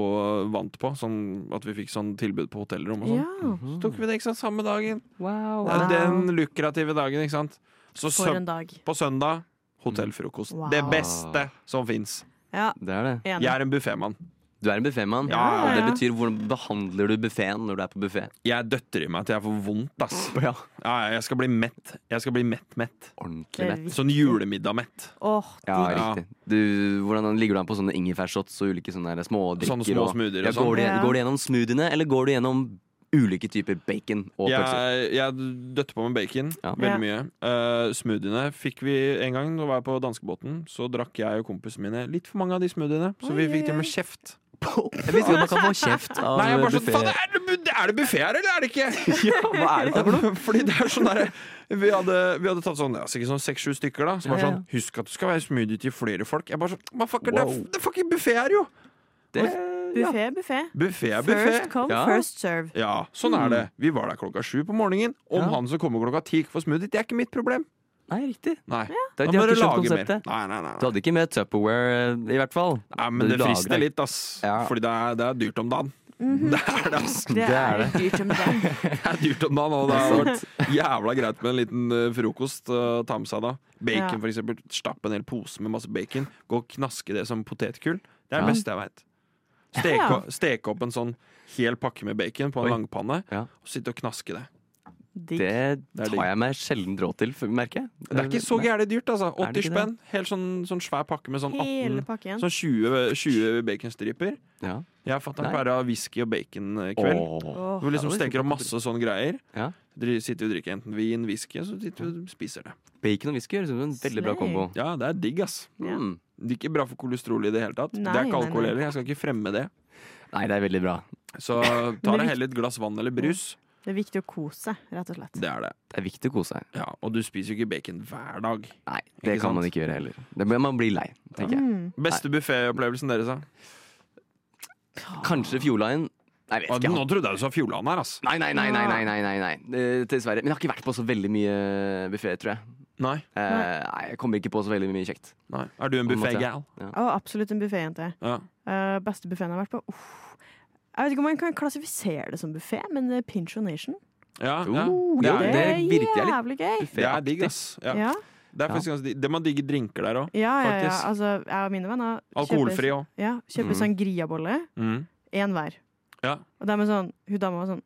[SPEAKER 5] vant på. Sånn at vi fikk sånn tilbud på hotellrom og sånn.
[SPEAKER 6] Ja.
[SPEAKER 5] Så tok vi det ikke sant, samme dagen.
[SPEAKER 4] Wow.
[SPEAKER 5] Det er Den lukrative dagen, ikke sant. Så
[SPEAKER 6] For
[SPEAKER 5] søn
[SPEAKER 6] en dag.
[SPEAKER 5] på søndag hotellfrokost.
[SPEAKER 6] Wow.
[SPEAKER 5] Det beste som fins.
[SPEAKER 6] Ja,
[SPEAKER 4] Det er det.
[SPEAKER 6] enig.
[SPEAKER 5] Jeg er en buffémann.
[SPEAKER 4] Du er en buffémann.
[SPEAKER 5] Ja,
[SPEAKER 4] Og
[SPEAKER 6] ja,
[SPEAKER 4] det
[SPEAKER 6] ja.
[SPEAKER 4] betyr hvordan behandler du buffeen når du er på buffé?
[SPEAKER 5] Jeg døtter i meg til jeg får vondt, ass.
[SPEAKER 4] Ja.
[SPEAKER 5] Ja, ja, jeg skal bli mett. Jeg skal bli mett-mett.
[SPEAKER 4] Ordentlig
[SPEAKER 6] Det er
[SPEAKER 4] mett.
[SPEAKER 6] viktig.
[SPEAKER 5] Sånn julemiddag-mett.
[SPEAKER 6] Åh,
[SPEAKER 4] Ja,
[SPEAKER 5] Ja.
[SPEAKER 4] riktig. Du, hvordan ligger du an på sånne ingefærshots og ulike sånne der smådrikker?
[SPEAKER 5] Sånne små
[SPEAKER 4] og-
[SPEAKER 5] smoothier og
[SPEAKER 4] ja, går, du,
[SPEAKER 6] sånn.
[SPEAKER 4] går du gjennom smoothiene, eller går du gjennom ulike typer bacon og pølser?
[SPEAKER 5] Jeg, jeg døtter på med bacon
[SPEAKER 4] Ja.
[SPEAKER 5] veldig mye. Eh, smoothiene fikk vi en gang da var jeg på danskebåten. Så drakk jeg og kompisene mine litt for mange av de smoothiene, så vi fikk til og med kjeft.
[SPEAKER 4] Jeg visste ikke at man kan få kjeft av
[SPEAKER 5] Nei, jeg bare sånn,
[SPEAKER 4] buffet.
[SPEAKER 5] faen, er det, bu- er det buffé her, eller er det ikke?
[SPEAKER 4] Hva er det for noe?
[SPEAKER 5] Fordi det er sånn der, vi, hadde, vi hadde tatt sånn ja, sikkert sånn seks-sju stykker. da Som var
[SPEAKER 4] Ja, ja,
[SPEAKER 5] sånn Husk at du skal være smoothie til flere folk. Jeg bare sånn, «Man fucker, Det er, det er fucking buffé her, jo!
[SPEAKER 4] Det,
[SPEAKER 6] buffé, buffé.
[SPEAKER 5] Buffé er buffé.
[SPEAKER 6] First come,
[SPEAKER 4] Ja.
[SPEAKER 6] first serve.
[SPEAKER 5] Ja, sånn er det. Vi var der klokka sju på morgenen.
[SPEAKER 4] Mm.
[SPEAKER 5] Om
[SPEAKER 4] Ja.
[SPEAKER 5] han som kommer klokka ti ikke får smoothie, det er ikke mitt problem.
[SPEAKER 4] nei, riktig.
[SPEAKER 5] Nei,
[SPEAKER 4] Det,
[SPEAKER 5] Da
[SPEAKER 4] de
[SPEAKER 5] må
[SPEAKER 4] har
[SPEAKER 5] dere
[SPEAKER 4] ikke skjønt
[SPEAKER 5] lage
[SPEAKER 4] konseptet.
[SPEAKER 5] mer. Nei, nei,
[SPEAKER 4] Du
[SPEAKER 5] nei.
[SPEAKER 4] hadde ikke med Tupperware, eh, i hvert fall.
[SPEAKER 5] nei men
[SPEAKER 4] Du
[SPEAKER 5] det
[SPEAKER 4] lager
[SPEAKER 5] frister litt, ass.
[SPEAKER 4] Ja.
[SPEAKER 5] Fordi det er, det er dyrt om dagen. Det er det, ass.
[SPEAKER 6] Det er dyrt som det.
[SPEAKER 5] Det er dyrt om dagen, og det har vært jævla greit med en liten eh, frokost. eh, ta med seg da. Bacon,
[SPEAKER 6] Ja.
[SPEAKER 5] for eksempel. Stapp en hel pose med masse bacon. Gå og knaske det som potetgull. Det er
[SPEAKER 4] Ja.
[SPEAKER 5] det beste jeg veit. Steke, steke opp en sånn hel pakke med bacon på en
[SPEAKER 4] Oi.
[SPEAKER 5] langpanne,
[SPEAKER 4] Ja.
[SPEAKER 5] og sitte og knaske det.
[SPEAKER 6] Digg.
[SPEAKER 4] Det
[SPEAKER 5] er
[SPEAKER 4] tar
[SPEAKER 5] digg.
[SPEAKER 4] jeg meg sjelden råd til, for- merker jeg.
[SPEAKER 5] Det er ikke så gærent dyrt, altså.
[SPEAKER 4] Er det
[SPEAKER 5] 80
[SPEAKER 4] ikke det?
[SPEAKER 5] spenn. Helt sånn, sånn svær pakke med sånn 18
[SPEAKER 6] Hele pakken.
[SPEAKER 5] Sånn 20, 20 baconstriper.
[SPEAKER 4] Ja.
[SPEAKER 5] Jeg og fatter'n
[SPEAKER 4] Nei.
[SPEAKER 5] pleier å ha whisky og bacon-kveld.
[SPEAKER 4] Åh.
[SPEAKER 6] Åh,
[SPEAKER 5] Hvor vi liksom
[SPEAKER 4] Ja, det er
[SPEAKER 5] steker opp masse sånne greier.
[SPEAKER 4] Ja.
[SPEAKER 5] Dri- Sitter vi og drikker enten vin, whisky, så sitter vi og spiser det.
[SPEAKER 4] Bacon og whisky høres ut som en veldig bra
[SPEAKER 6] Slay.
[SPEAKER 4] kombo.
[SPEAKER 5] Ja, det er digg, ass.
[SPEAKER 4] Mm.
[SPEAKER 5] Det er ikke bra for kolesterol i det hele tatt. det
[SPEAKER 6] Nei,
[SPEAKER 5] er ikke
[SPEAKER 6] nei,
[SPEAKER 5] alkohol
[SPEAKER 6] nei.
[SPEAKER 5] heller. Jeg skal ikke fremme det.
[SPEAKER 4] Nei, det er veldig bra.
[SPEAKER 5] Så ta deg heller et glass vann eller brus.
[SPEAKER 6] Det er viktig å kose seg, rett og slett.
[SPEAKER 5] Det er det.
[SPEAKER 4] Det er viktig å kose seg.
[SPEAKER 5] Ja, og du spiser jo ikke bacon hver dag.
[SPEAKER 4] Nei, det
[SPEAKER 5] Ikke
[SPEAKER 4] kan man
[SPEAKER 5] sant?
[SPEAKER 4] ikke gjøre heller. Det, blir- man blir lei, tenker jeg.
[SPEAKER 5] Beste bufféopplevelsen deres, da?
[SPEAKER 4] Kanskje Fjordline. Nei, jeg
[SPEAKER 5] Å,
[SPEAKER 4] vet ikke.
[SPEAKER 5] Nå trodde jeg du sa Fjordland her, ass.
[SPEAKER 4] Nei, nei, nei, nei, nei, nei, nei, nei. Eh, dessverre. Men jeg har ikke vært på så veldig mye buffé, tror jeg.
[SPEAKER 5] Nei.
[SPEAKER 4] Eh, nei, jeg kommer ikke på så veldig mye kjekt.
[SPEAKER 5] nei. Er du en
[SPEAKER 4] Nå måtte jeg.
[SPEAKER 5] buffé-gal?
[SPEAKER 6] Å, absolutt en bufféjente.
[SPEAKER 5] Ja.
[SPEAKER 6] Uh, beste buffeen jeg har vært på? Uff. Jeg vet ikke om man kan klassifisere det som buffé, men det er Pinchonation.
[SPEAKER 5] Ja, ja.
[SPEAKER 4] Jo,
[SPEAKER 5] Det
[SPEAKER 4] jo,
[SPEAKER 5] er-
[SPEAKER 6] Det
[SPEAKER 4] det
[SPEAKER 6] er
[SPEAKER 4] virkelig er litt
[SPEAKER 6] jævlig gøy.
[SPEAKER 5] Det er digg,
[SPEAKER 4] bufféaktig.
[SPEAKER 5] ass. Ja.
[SPEAKER 6] Ja,
[SPEAKER 5] Det er
[SPEAKER 4] Ja.
[SPEAKER 5] faktisk ganske digg. Det må digge drinker der òg.
[SPEAKER 6] ja, ja. ja.
[SPEAKER 5] Faktisk.
[SPEAKER 6] Altså, jeg og mine venner kjøper-
[SPEAKER 5] Alkoholfri Mm. òg.
[SPEAKER 6] Ja, kjøper sangriabolle. Én hver.
[SPEAKER 5] Ja.
[SPEAKER 6] Og de er sånn, hun dama var sånn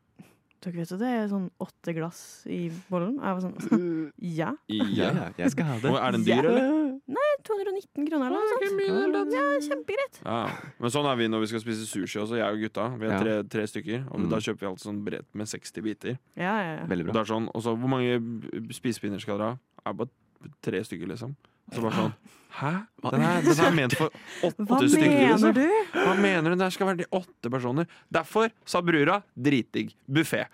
[SPEAKER 6] Dere vet jo det er sånn åtte glass i bollen? Og jeg var sånn Ja.
[SPEAKER 4] Ja, ja, jeg skal ha det.
[SPEAKER 5] Og er den dyr,
[SPEAKER 6] Ja.
[SPEAKER 5] eller?
[SPEAKER 6] 219 kroner eller noe sånt. Ja, kjempegreit.
[SPEAKER 5] Ja. Men sånn er vi når vi skal spise sushi også, jeg og gutta. Vi
[SPEAKER 4] Ja.
[SPEAKER 5] er tre, tre stykker. Og
[SPEAKER 4] Mm.
[SPEAKER 5] da kjøper vi alt sånn bredt med 60 biter.
[SPEAKER 6] Ja, ja, ja.
[SPEAKER 4] Veldig bra.
[SPEAKER 5] Og det er sånn, og så hvor mange b- spisepinner skal dere ha? Er bare tre stykker, liksom. Så bare sånn Hæ? Den er, den er ment for
[SPEAKER 6] Hva
[SPEAKER 5] åtte stykker.
[SPEAKER 6] mener
[SPEAKER 5] liksom.
[SPEAKER 6] du?
[SPEAKER 5] Hva mener du? Det her skal være de åtte personer. Derfor sa brura dritdigg. Buffé.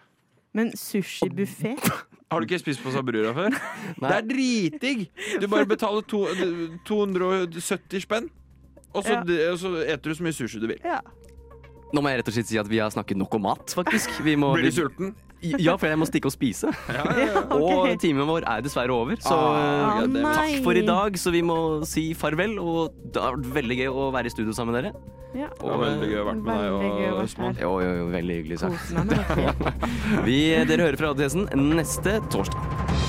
[SPEAKER 6] Men sushibuffé?
[SPEAKER 5] Har du ikke spist på Sabrura før? Det
[SPEAKER 4] Nei.
[SPEAKER 5] er dritdigg! Du bare betaler to, 270 spenn, og så, og så eter du så mye sushi du vil.
[SPEAKER 4] Nå må jeg rett og slett si at vi har snakket nok om mat, faktisk. Vi må,
[SPEAKER 5] Blir du sulten?
[SPEAKER 4] Ja, for jeg må stikke og spise. Og timen vår er dessverre over, så
[SPEAKER 5] Ah,
[SPEAKER 4] eh,
[SPEAKER 5] ja, det-
[SPEAKER 4] takk for i dag. Så vi må si farvel, og det har vært veldig gøy å være i studio sammen med dere.
[SPEAKER 6] Ja.
[SPEAKER 5] Det var veldig gøy å være med
[SPEAKER 6] Veldig
[SPEAKER 5] deg
[SPEAKER 6] gøy å
[SPEAKER 5] og
[SPEAKER 6] være
[SPEAKER 5] Østmann.
[SPEAKER 4] Jo, jo, jo, veldig hyggelig sagt.
[SPEAKER 6] Kos meg med dere.
[SPEAKER 4] Vi, dere hører fra Adressen neste torsdag.